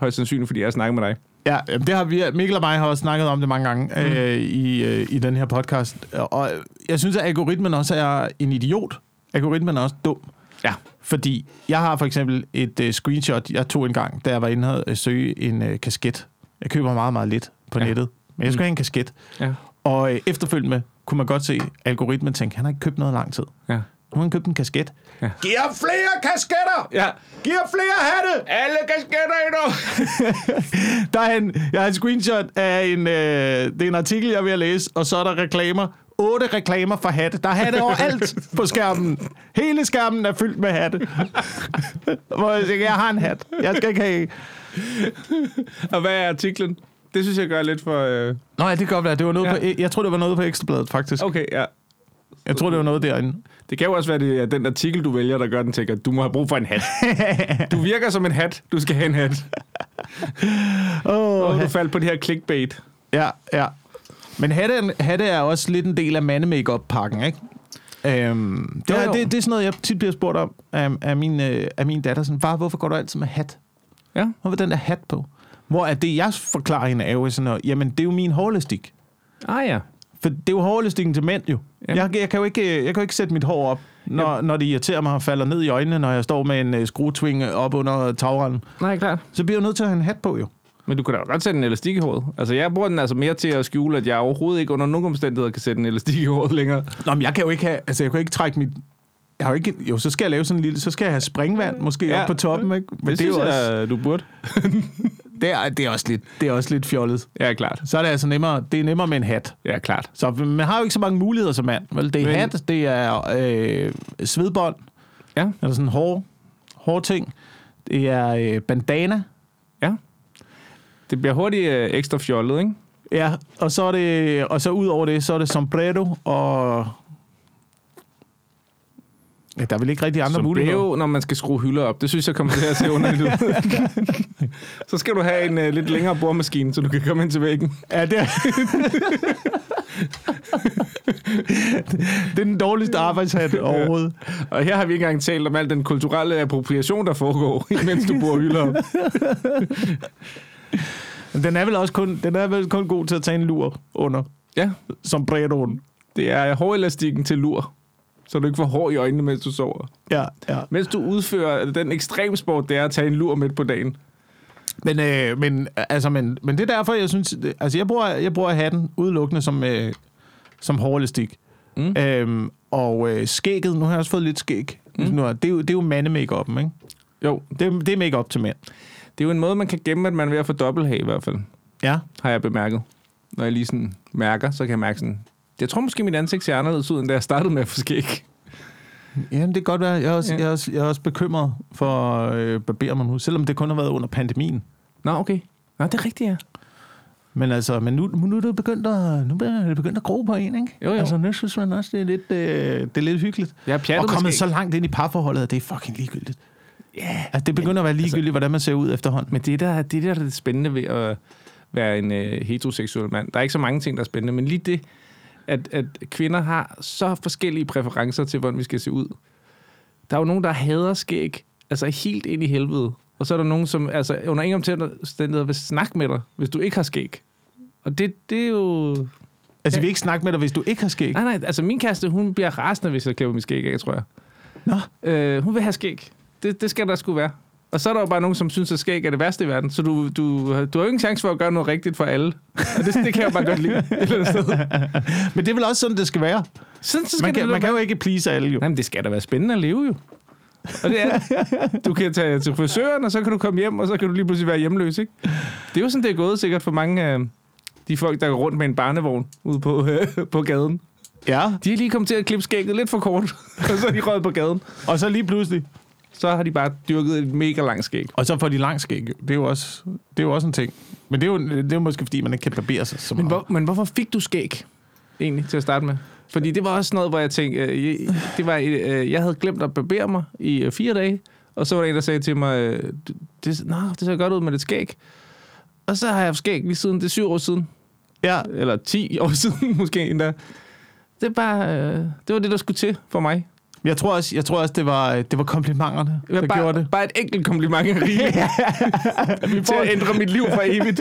højst sandsynligt, fordi jeg snakker med dig.
Ja, jamen, det har vi, Mikkel og mig har også snakket om det mange gange mm. øh, i, øh, i den her podcast. Og jeg synes, at algoritmen også er en idiot. Algoritmen er også dum.
Ja.
Fordi jeg har for eksempel et øh, screenshot, jeg tog engang, da jeg var inde og øh, søge en øh, kasket. Jeg køber meget, meget lidt på ja.
Ja.
nettet. Men jeg skulle mm. have en kasket.
Ja.
Og øh, efterfølgende kunne man godt se, at algoritmen tænkte, han har ikke købt noget i lang tid.
Ja.
Nu har han købt en kasket.
Ja.
Giv ham flere kasketter!
Ja.
Giv ham flere hatte!
Alle kasketter i dag!
Der er en, jeg har en screenshot af en, øh, det er en artikel, jeg er ved at læse, og så er der reklamer. Otte reklamer for hatte. Der er hatte overalt på skærmen. Hele skærmen er fyldt med hatte. Hvor jeg tænker, jeg har en hat. Jeg skal ikke have...
Og hvad er artiklen? Det synes jeg gør lidt for... Øh...
Nej, det kan godt være. Det var noget
Ja.
ja. på, E- jeg tror, det var noget på Ekstrabladet, faktisk.
Okay, ja.
Jeg tror, det var noget derinde.
Det kan jo også være, det er den artikel, du vælger, der gør den til, at du må have brug for en hat. Du virker som en hat. Du skal have en hat.
Åh,
Og du faldt på det her clickbait.
Ja, ja. Men hatte, hatte er også lidt en del af mandemake pakken ikke? Øhm, det,
Jo,
er,
jo.
det, det er sådan noget, jeg tit bliver spurgt om af, af, min, øh, af min datter. Sådan, Far, hvorfor går du altid med hat?
Ja.
Hvorfor den der hat på? Hvor er det, jeg forklarer hende, er jo sådan noget, jamen det er jo min hårlastik.
Ah ja.
For det er jo hårlastikken til mænd jo.
Jamen.
Jeg, jeg, kan jo ikke, øh, jeg kan jo ikke sætte mit hår op når, når det irriterer mig og falder ned i øjnene, når jeg står med en øh, skruetving op under tagranden.
Nej, klart.
Så bliver jeg nødt til at have en hat på, jo.
Men du kunne da godt sætte en elastik i håret. Altså, jeg bruger den altså mere til at skjule, at jeg overhovedet ikke under nogen omstændigheder kan sætte en elastik i håret længere.
Nå, men jeg kan jo ikke have, altså jeg kan jo ikke trække mit, jeg har jo ikke, jo, så skal jeg lave sådan en lille, så skal jeg have springvand måske ja.
Mm. Ja.
op på toppen, ikke? Men
det,
er
synes
jo også,
jeg, du burde.
det, er, det, er også lidt, det er også lidt fjollet.
Ja, klart.
Så er det altså nemmere, det er nemmere med en hat.
Ja, klart.
Så man har jo ikke så mange muligheder som mand. Vel, det er
Men-
hat, det er øh, svedbånd,
Ja,
eller sådan hårde, hårde ting. Det er øh, bandana.
ja. Det bliver hurtigt øh, ekstra fjollet, ikke?
Ja, og så er det, og så ud over det, så er det sombrero og... Ja, der er vel ikke rigtig andre
Som
muligheder.
blev, når man skal skrue hylder op. Det synes jeg kommer til at se underligt ud. så skal du have en uh, lidt længere boremaskine, så du kan komme ind til væggen.
Ja, det er... det er den dårligste arbejdshat overhovedet.
Og her har vi ikke engang talt om al den kulturelle appropriation, der foregår, mens du bor hylder op.
Men Den er vel også kun, den er vel kun god til at tage en lur under
Ja,
sombreroen.
det er hårelastikken til lur. Så du ikke får hår i øjnene, mens du sover.
Ja, ja.
Mens du udfører den ekstremsport, det er at tage en lur midt på dagen.
Men, øh, men, altså, men, men det er derfor, jeg synes... det- Altså, jeg bruger, jeg bruger hatten udelukkende som, øh, som hårlastik. Mm.
Mm.
Øhm, og øh, skægget, nu har jeg også fået lidt skæg. Mm. Nu, er- det, er jo, det er jo mandemake-up'en, ikke?
Jo,
Det, er- det er make-up til mænd.
det er jo en måde, man kan gemme, at man er ved at få dobbelthag i hvert fald.
Ja.
har jeg bemærket. Når jeg lige sådan mærker, så kan jeg mærke sådan... Jeg tror måske, mit ansigt ser anderledes ud, end da jeg startede med at få skæg.
Jamen, det kan godt være. Jeg er også,
Ja.
jeg er også, jeg er også bekymret for øh, barberer mig nu, selvom det kun har været under pandemien.
Nå, okay. Nå, det er rigtigt, ja.
Men altså, men nu, nu er det begyndt at, nu er det begyndt at gro på en, ikke?
Jo, jo.
Altså, nu synes man også, det er lidt, øh, det er lidt hyggeligt.
Jeg er pjattet
og
med
kommet
skæg.
så langt ind i parforholdet, at det er fucking ligegyldigt.
Ja, yeah.
Altså, det begynder at være ligegyldigt, hvordan man ser ud efterhånden.
men det er der, det er der, der er det spændende ved at være en øh, heteroseksuel mand. Der er ikke så mange ting, der er spændende, men lige det, at, at kvinder har så forskellige præferencer til, hvordan vi skal se ud. Der er jo nogen, der hader skæg, altså helt ind i helvede. Og så er der nogen, som altså, under ingen omstændigheder vil snakke med dig, hvis du ikke har skæg. Og det, det er jo...
Altså, vi vil ikke snakke med dig, hvis du ikke har skæg.
Nej, nej, altså min kæreste, hun bliver rasende, hvis jeg klipper mit skæg af, tror jeg.
Nå.
Øh, hun vil have skæg. Det, det skal der sgu være. Og så er der jo bare nogen, som synes, at skæg er det værste i verden. Så du, du, du har jo ingen chance for at gøre noget rigtigt for alle. Og det, det kan jeg jo bare godt lide. Et eller andet sted.
Men det er vel også sådan, det skal være.
Sådan, så skal
Man
det,
kan, man kan jo ikke please alle, jo.
Nej, men det skal da være spændende at leve jo. Og det er, det. du kan tage til frisøren, og så kan du komme hjem, og så kan du lige pludselig være hjemløs, ikke? Det er jo sådan, det er gået sikkert for mange af de folk, der går rundt med en barnevogn ude på, øh, på gaden.
Ja,
De er lige kommet til at klippe skægget lidt for kort, og så er de røget på gaden.
og så lige pludselig.
Så har de bare dyrket et mega langt skæg.
Og så får de langt skæg, jo. Det er jo også, det er jo også en ting. Men det er, jo, det er jo måske, fordi man ikke kan barbere sig så meget.
Men, hvor, men hvorfor fik du skæg egentlig til at starte med? Fordi det var også noget, hvor jeg tænkte, øh, jeg- det var, øh, jeg havde glemt at barbere mig i øh, fire dage, og så var der en, der sagde til mig, øh, "Du- det, nå, det ser godt ud med det skæg. Og så har jeg haft skæg lige siden, det er syv år siden,
Ja,
eller ti år siden måske endda. Det, er bare, øh, det var det, der skulle til for mig.
jeg tror også, jeg tror også det, var, øh, det var komplimenterne,
Det
der
var bare,
gjorde det.
bare et enkelt kompliment af Rie. til at ændre mit liv for evigt.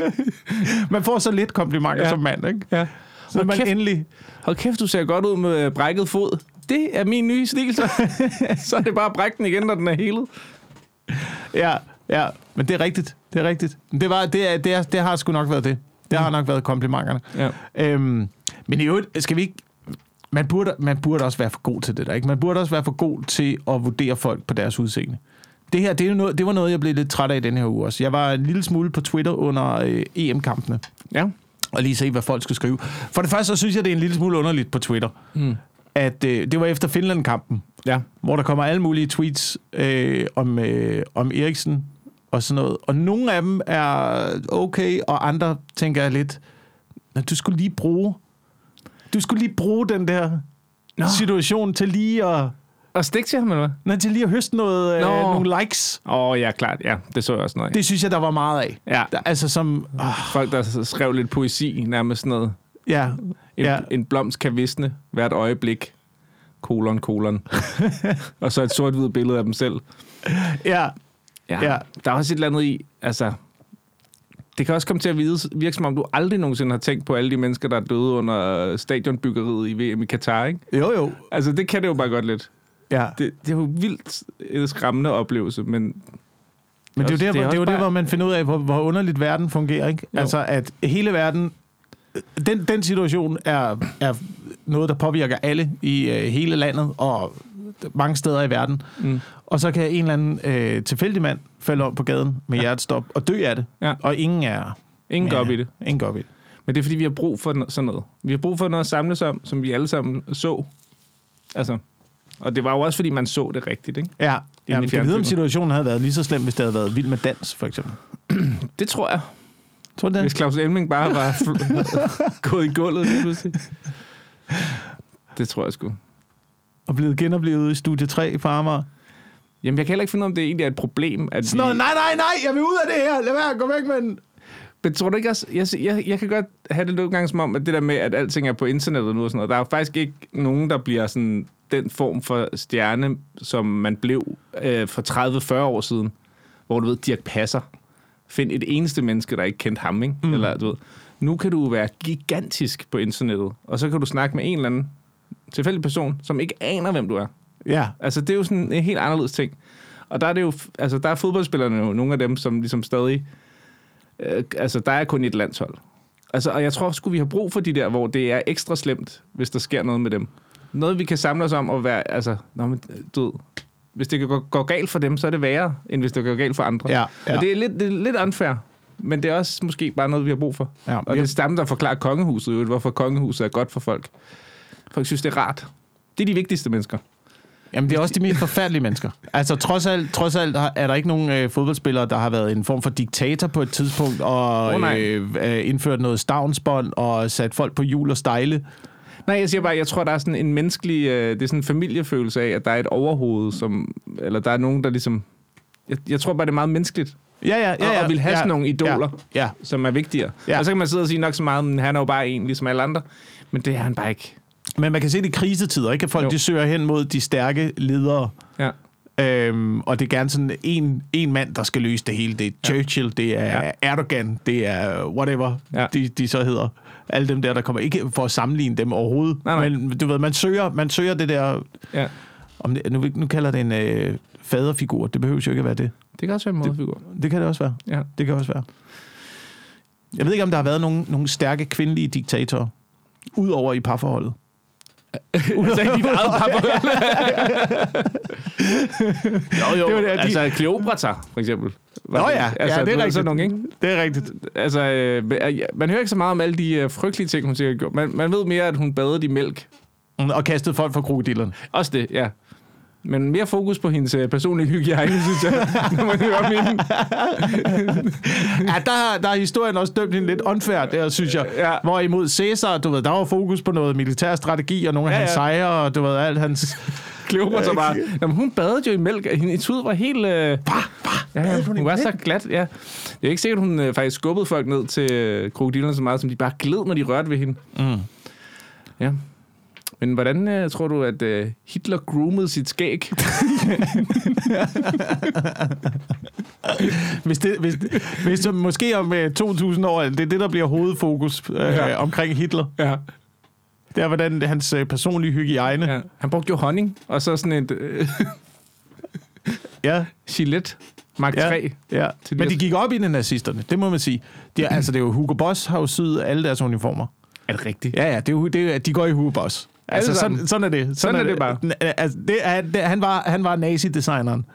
Man får så lidt komplimenter ja.
Ja.
som mand, ikke?
Ja.
Så
Hold
man
kæft.
endelig...
Hold kæft, du ser godt ud med øh, brækket fod. Det er min nye stil, så, så er det bare at brække den igen, når den er helet.
Ja, ja. Men det er rigtigt. Det er rigtigt. Men Det, var, det, er, det, er, det har sgu nok været det. Det
Mm.
har nok været komplimenterne.
Ja.
Øhm, men i øvrigt, skal vi ikke... Man burde, man burde også være for god til det der, ikke? Man burde også være for god til at vurdere folk på deres udseende. Det her, det, er jo noget, det var noget, jeg blev lidt træt af i den her uge også. Jeg var en lille smule på Twitter under øh, EM-kampene,
ja.
og lige se, hvad folk skulle skrive. For det første, så synes jeg, det er en lille smule underligt på Twitter,
Mm.
at øh, det var efter Finland-kampen,
Ja.
hvor der kommer alle mulige tweets øh, om, øh, om Eriksen og sådan noget. Og nogle af dem er okay, og andre tænker jeg lidt, "Nå, du skulle lige bruge, du skulle lige bruge den der Nå.
Nå.
situation til lige at,
Og stik til ham, eller hvad?
nej, til lige at høste noget, øh,
Nå.
nogle likes.
Åh, oh, ja, klart. Ja, det så jeg også noget. Det...
Det synes jeg, der var meget af.
Ja,
Der, altså som, åh,
folk, der s- skrev lidt poesi, nærmest sådan noget.
ja,
En,
Ja.
ja. en blomst kan visne hvert øjeblik. Kolon, kolon. og så et sort-hvidt billede af dem selv.
ja, Ja.
Der er også et eller andet i, altså... Det kan også komme til at vide, virke som om, du aldrig nogensinde har tænkt på alle de mennesker, der er døde under øh, stadionbyggeriet i VM i Katar, ikke?
jo jo.
Altså, det kan det jo bare godt lidt.
Ja.
Det, det er jo vildt en skræmmende oplevelse, men
Men det er jo der,
Det er
hvor, det er jo der,
også bare-
hvor man finder ud af, hvor, hvor underligt verden fungerer. Ikke?
Jo.
Altså, at hele verden... Den, den situation er, er noget, der påvirker alle i øh, hele landet og mange steder i verden.
Mm.
Og så kan en eller anden øh, tilfældig mand falde om på gaden med ja. hjertestop og dø af det.
Ja.
Og ingen er...
ingen går
ja,
op i det.
Ingen går op i det.
Men det er, fordi vi har brug for no- sådan noget. Vi har brug for noget at samles om, som vi alle sammen så. Altså, og det var jo også, fordi man så det rigtigt, ikke?
Ja, jamen, jeg ved, om
fjernsynet.
situationen havde været lige så slem, hvis det havde været vild med dans, for eksempel.
Det tror jeg.
Tror du
Ja.
det?
Hvis Claus Elming bare var fl- gået i gulvet lige pludselig. Det tror jeg sgu.
Og blevet genoplevet i studie 3 på Amager.
Jamen, jeg kan heller ikke finde ud af, om det egentlig er et problem. At
Sådan noget,
vi...
nej, nej, nej, jeg vil ud af det her. Lad være, gå væk med den.
Men tror du ikke også... Jeg, jeg, jeg kan godt have det nogle gange som om, at det der med, at alting er på internettet nu og sådan noget. Der er jo faktisk ikke nogen, der bliver sådan den form for stjerne, som man blev øh, for 30-40 år siden. Hvor du ved, Dirk Passer. Find et eneste menneske, der ikke kendte ham, ikke? Mm. Eller du ved. Nu kan du være gigantisk på internettet, og så kan du snakke med en eller anden tilfældig person, som ikke aner, hvem du er.
Ja,
Altså, det er jo sådan en helt anderledes ting. Og der er det jo, altså, der er fodboldspillerne jo nogle af dem, som ligesom stadig, øh, altså, der er kun et landshold. Altså, og jeg tror sgu, vi har brug for de der, hvor det er ekstra slemt, hvis der sker noget med dem. Noget, vi kan samle os om og være, altså, nå, men, øh, du ved, hvis det går, går galt for dem, så er det værre, end hvis det går galt for andre.
Ja, ja.
Og det er, lidt, det er lidt unfair, men det er også måske bare noget, vi har brug for.
Ja.
og det stammer der forklarer kongehuset, jo, hvorfor kongehuset er godt for folk. Folk synes, det er rart. Det er de vigtigste mennesker.
Jamen, det er også de mest forfærdelige mennesker. Altså, trods alt, trods alt har- er der ikke nogen øh, fodboldspillere, der har været en form for diktator på et tidspunkt, og
Åh, nej.
øh, øh, indført noget stavnsbånd, og sat folk på hjul og stejle.
Nej, jeg siger bare, jeg tror, der er sådan en menneskelig... Øh, det er sådan en familiefølelse af, at der er et overhoved, som... Eller der er nogen, der ligesom... Jeg, jeg tror bare, det er meget menneskeligt,
Ja, ja, ja.
Og-
ja,
og vil have
ja,
sådan nogle idoler.
Ja, ja.
som er vigtigere.
Ja.
Ja. Og så kan man sidde og sige nok så meget, men han er jo bare en, ligesom alle andre. Men det er han bare ikke.
Men man kan se det i krisetider, ikke? At folk
Jo.
de søger hen mod de stærke ledere.
Ja.
Øhm, og det er gerne sådan en, en mand, der skal løse det hele. Det er Churchill, det er
Ja.
Erdogan, det er whatever, ja.
Ja.
de, de så hedder. Alle dem der, der kommer. Ikke for at sammenligne dem overhovedet.
Nej, nej.
Men du ved, man søger, man søger det der...
ja.
Om det, nu, nu kalder det en øh, faderfigur. Det behøver jo ikke at være det.
Det kan også være en modefigur.
Det kan det også være.
Ja.
Det kan også være. Jeg ved ikke, om der har været nogen, nogen stærke kvindelige diktatorer. Udover i parforholdet.
altså, i dit eget parforhold.
Jo, jo.
det var det,
de, altså,
altså, Kleopatra, for eksempel. Var
Nå
det-
ja,
altså,
ja, det
du ved,
er rigtigt.
Sådan nogle, ikke?
Det er rigtigt.
Altså, øh, men, øh, man hører ikke så meget om alle de øh, frygtelige ting, hun sikkert gjorde. Man, man ved mere, at hun badede i mælk,
Og kastede folk fra krokodillerne.
Også det, ja. Men mere fokus på hendes øh, personlige hygiejne, synes jeg, når man hører om hende.
Ja, der, der har historien også dømt hende lidt unfair, der, synes jeg. Ja.
Ja.
Hvorimod Cæsar, du ved, der var fokus på noget militær strategi og nogle af ja,
Ja,
ja. hans
ja.
sejre, og du ved, alt hans...
Kleopatra så bare. Jamen, hun badede jo i mælk, og hendes hud var helt... Øh, ja, ja,
hun i
hun var så glat, ja. Det er ikke sikkert, hun øh, faktisk skubbede folk ned til øh, krokodillerne så meget, som de bare gled, når de rørte ved hende. Mm. Ja. Men hvordan øh, tror du, at øh, Hitler groomede sit skæg?
Hvis det, hvis, hvis det, måske om øh, 2000 år, det er det, der bliver hovedfokus øh, ja.
Ja.
omkring Hitler.
ja.
Det er, hvordan hans øh, personlige hygiejne... Ja.
ja. Han brugte jo honning, og så sådan et øh,
ja.
Gillette Mark
Ja.
3.
Ja,
Til de
men de
her-
gik op i det, nazisterne, det må man sige. De, altså, det er jo Hugo Boss har jo syet alle deres uniformer.
Er det rigtigt?
Ja, ja, det er, jo- det er, jo- de går i Hugo Boss. Altså,
Alle
sådan,
sammen.
sådan er det. Sådan,
er det bare.
N- Altså, det er, det, han var, han var nazi-designeren.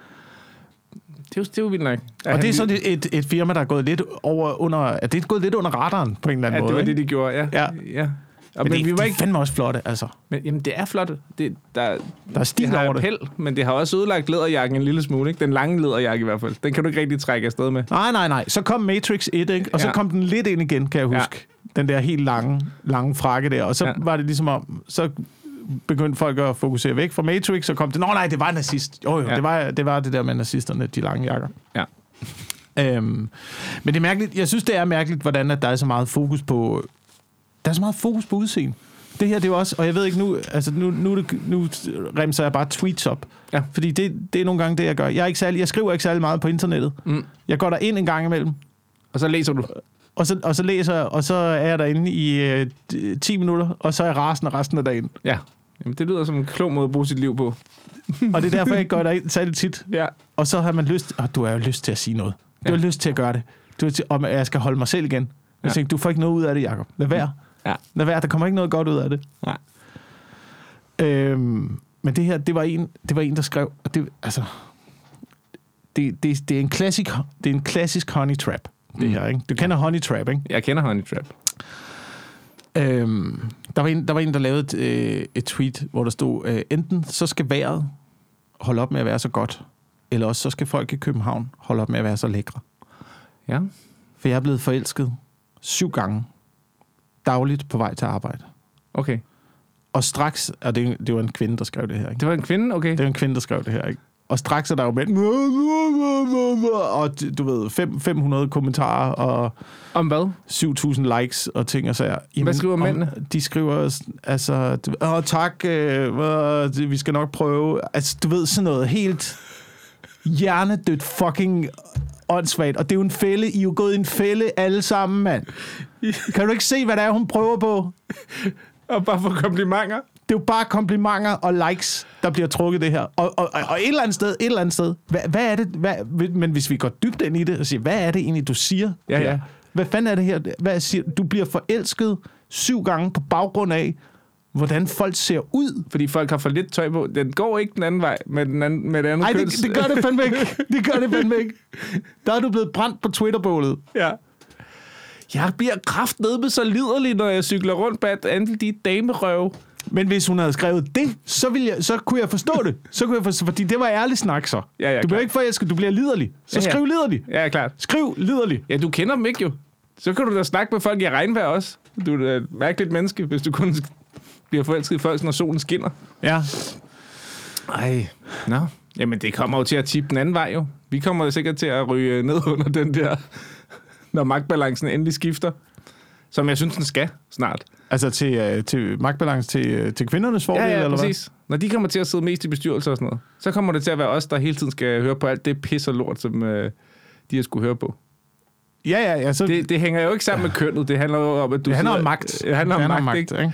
Det er jo, det er jo vildt nok. At
Og
han
det er
lige-
sådan et, et, et firma, der er gået lidt over under, at det er gået lidt under radaren på en eller anden
Ja,
måde.
det var
ikke?
det, de gjorde, ja.
Ja.
ja.
men,
Og, men,
men det,
vi var
ikke...
ikke...
fandme også flotte, altså.
Men, jamen, det er flot. Det, der,
Der er
det
stil
har
over
det.
det.
Held, men det har også ødelagt læderjakken en lille smule. Ikke? Den lange læderjakke i hvert fald. Den kan du ikke rigtig trække afsted med.
Nej, nej, nej. Så kom Matrix 1, ikke? og så
Ja.
kom den lidt ind igen, kan jeg
Ja.
huske. Den der helt lange, lange frakke der. Og så
Ja.
var det ligesom om, så begyndte folk at fokusere væk fra Matrix, så kom det, nå nej, det var en nazist. Jo, jo, ja.
Ja.
det, var, det var det der med nazisterne, de lange jakker.
Ja.
Øhm, men det er mærkeligt. Jeg synes, det er mærkeligt, hvordan at der er så meget fokus på... Der er så meget fokus på udseende. Det her, det er jo også... Og jeg ved ikke nu... Altså, nu, nu, er det- nu remser jeg bare tweets op.
Ja.
Fordi det, det er nogle gange det, jeg gør. Jeg, er ikke særlig, jeg skriver ikke særlig meget på internettet.
Mm.
Jeg går der ind en gang imellem,
Og så læser du.
og så, og så læser jeg, og så er jeg derinde i øh, d- 10 minutter, og så er jeg rasende resten af dagen.
Ja. Jamen, det lyder som en klog måde at bruge sit liv på.
Og det er derfor, jeg ikke gør det særlig tit.
Ja.
Og så har man lyst, og du har jo lyst til at sige noget. Du
Ja.
har lyst til at gøre det. Du har til, om jeg skal holde mig selv igen. Jeg
Ja. Mhm.
tænkte, du får ikke noget ud af det, Jacob. Lad være.
Ja.
Lad være, der kommer ikke noget godt ud af det.
Nej.
Øhm, men det her, det var en, det var en der skrev, og det, altså, det, det, det, er en klassisk, det er en klassisk honey trap, det
Mm.
her, ikke? Du kender honey trap, ikke?
Jeg kender Honey Trap.
Øhm, der, var en, der var en, der lavede et, øh, et tweet, hvor der stod, øh, enten så skal vejret holde op med at være så godt, eller også så skal folk i København holde op med at være så lækre.
Ja.
For jeg er blevet forelsket syv gange dagligt på vej til arbejde.
Okay.
Og straks, og det, det var en kvinde, der skrev det her, ikke?
Det var en kvinde? Okay.
Det var en kvinde, der skrev det her, ikke? Og straks er der jo mænd, og du ved, fem- 500 kommentarer og
Om hvad?
7.000 likes og ting og sager.
skriver
om-
mændene?
De skriver, sådan, altså, du- åh tak, øh, øh, det- vi skal nok prøve. Altså, du ved, sådan noget helt hjernedødt fucking åndssvagt. Og det er jo en fælde. I er jo gået i en fælde alle sammen, mand. Kan du ikke se, hvad det er, hun prøver på?
Og bare for komplimenter?
Det er jo bare komplimenter og likes, der bliver trukket det her. Og, og, og og et eller andet sted, et eller andet sted. Hvad, hvad er det? Hvad, men hvis vi går dybt ind i det og siger, hvad er det egentlig, du siger?
Ja,
her?
ja.
Hvad fanden er det her? Hvad siger, du bliver forelsket syv gange på baggrund af, hvordan folk ser ud.
Fordi folk har for lidt tøj på. Den går ikke den anden vej med, den anden, med det andet
Nej,
køns.
det, det gør det fandme ikke. Det gør det fandme ikke. Der er du blevet brændt på Twitterbålet.
Ja. Jeg bliver kraftedme så liderlig, når jeg cykler rundt blandt alle de damerøve.
Men hvis hun havde skrevet det, så, ville jeg, så kunne jeg forstå det. Så kunne jeg forstå, fordi det var ærlig snak så.
Ja, ja,
du bliver
klart.
ikke forelsket, du bliver liderlig. Så
Ja, ja.
skriv liderlig.
Ja, klart.
Skriv liderlig.
Ja, du kender dem ikke jo. Så kan du da snakke med folk i regnvejr også. Du er da et mærkeligt menneske, hvis du kun bliver forelsket i folk, når solen skinner.
Ja.
Ej. Nå. Jamen, det kommer jo til at tippe den anden vej jo. Vi kommer da sikkert til at ryge ned under den der, når magtbalancen endelig skifter. Som jeg synes, den skal snart.
Altså til, øh, til magtbalance til, øh, til kvindernes fordel,
Ja, ja,
eller hvad?
præcis. Når de kommer til at sidde mest i bestyrelser og sådan noget, så kommer det til at være os, der hele tiden skal høre på alt det pis og lort, som øh, de har skulle høre på.
Ja, ja, ja. Så det,
Det, det hænger jo ikke sammen med kønnet. Det handler jo om, at du
det handler
sidder-
om magt.
Det handler om, magt, magt, ikke?
ikke?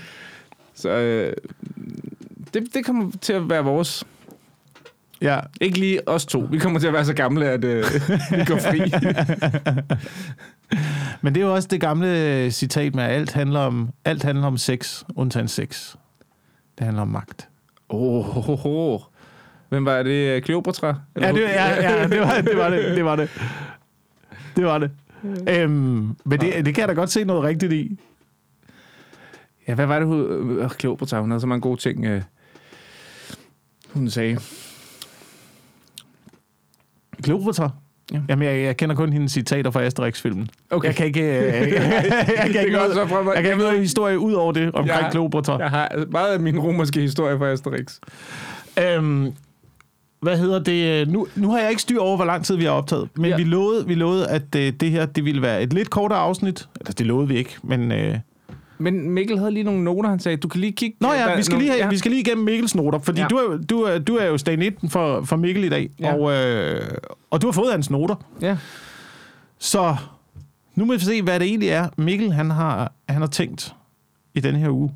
Så øh, det, det kommer til at være vores.
Ja.
Ikke lige os to. Vi kommer til at være så gamle, at øh, vi går fri.
Men det er jo også det gamle øh, citat med, at alt handler om, alt handler om sex, undtagen sex. Det handler om magt.
oh, ho, ho, ho. Hvem var det? Kleopatra?
Ja, det, ja, ja, det, var, det var det. Det var det. Det var det. Øhm, men det, det kan jeg da godt se noget rigtigt i.
ja, hvad var det? Hun, øh, Kleopatra, hun havde så mange gode ting, øh, hun sagde.
Kleopatra.
Ja.
Jamen, jeg, jeg kender kun hendes citater fra Asterix-filmen.
Okay.
Jeg kan ikke... Øh, jeg, jeg, kan
Det
ikke
går
noget,
så fra mig.
jeg kan ikke noget historie ud over det omkring
Ja.
Kleopatra.
Jeg har meget af min romerske historie fra Asterix.
Øhm, hvad hedder det? Nu, nu har jeg ikke styr over, hvor lang tid vi har optaget, men ja.
Ja.
vi, lovede, vi lovede, at øh, det her det ville være et lidt kortere afsnit. Eller det lovede vi ikke, men... Øh...
Men Mikkel havde lige nogle noter, han sagde, du kan lige kigge...
Nå ja,
der-
vi skal,
nogle-
lige have, vi skal lige igennem Mikkels noter, fordi ja.
Ja.
du, er, jo- du, er, du er jo stand 19 for, for Mikkel i dag, ja.
Ja.
og, øh, og du har fået hans noter.
Ja.
Så nu må vi se, hvad det egentlig er, Mikkel han har, han har tænkt i den her uge.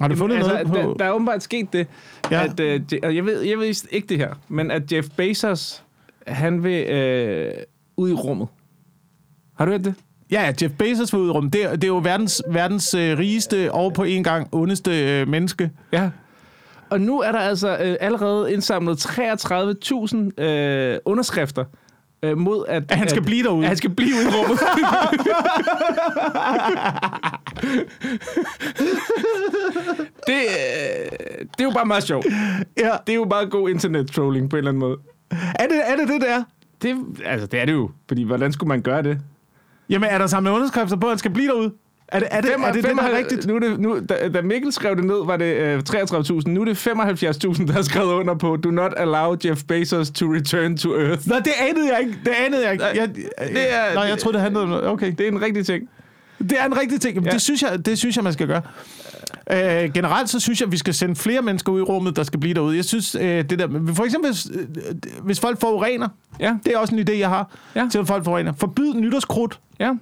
Har du fundet
altså,
noget på...
Der, der er åbenbart sket det,
Ja.
ja. at, øh, Je- og jeg ved, jeg ved ikke det her, men at Jeff Bezos, han vil øh, ud i rummet. Har du hørt det?
Ja, ja, Jeff Bezos var ude i rummet. Det, er- det er jo verdens, verdens øh, rigeste og på en gang ondeste øh, menneske.
Ja. Og nu er der altså øh, allerede indsamlet 33.000 øh, underskrifter øh, mod, at...
At han skal
at,
blive derude.
At han skal blive ude i rummet. det, øh, det er jo bare meget sjovt.
Ja.
Det er jo bare god internet-trolling på en eller anden måde.
Er det er det, det der?
Det, altså, det er det jo. Fordi, hvordan skulle man gøre det?
Jamen, er der samlet underskrifter på, at han skal blive derude? Er det er det, er det, det der er rigtigt?
Nu er det, nu, da, da Mikkel skrev det ned, var det øh, 33.000. Nu er det 75.000, der har skrevet under på Do not allow Jeff Bezos to return to Earth.
Nå, det anede jeg ikke. Det anede jeg ikke.
Nej,
Jeg,
det er-
nej, jeg troede, det handlede om noget. Okay.
Det er en rigtig ting.
Det er en rigtig ting. Jamen,
Ja.
Det, synes jeg, det synes jeg, man skal gøre. Øh, generelt så synes jeg, vi skal sende flere mennesker ud i rummet, der skal blive derude. Jeg synes, øh, det der... For eksempel, hvis, øh, hvis folk forurener.
Ja,
Det er også en idé, jeg har
Ja.
til, at folk forurener. Forbyd nytårskrudt.
ja.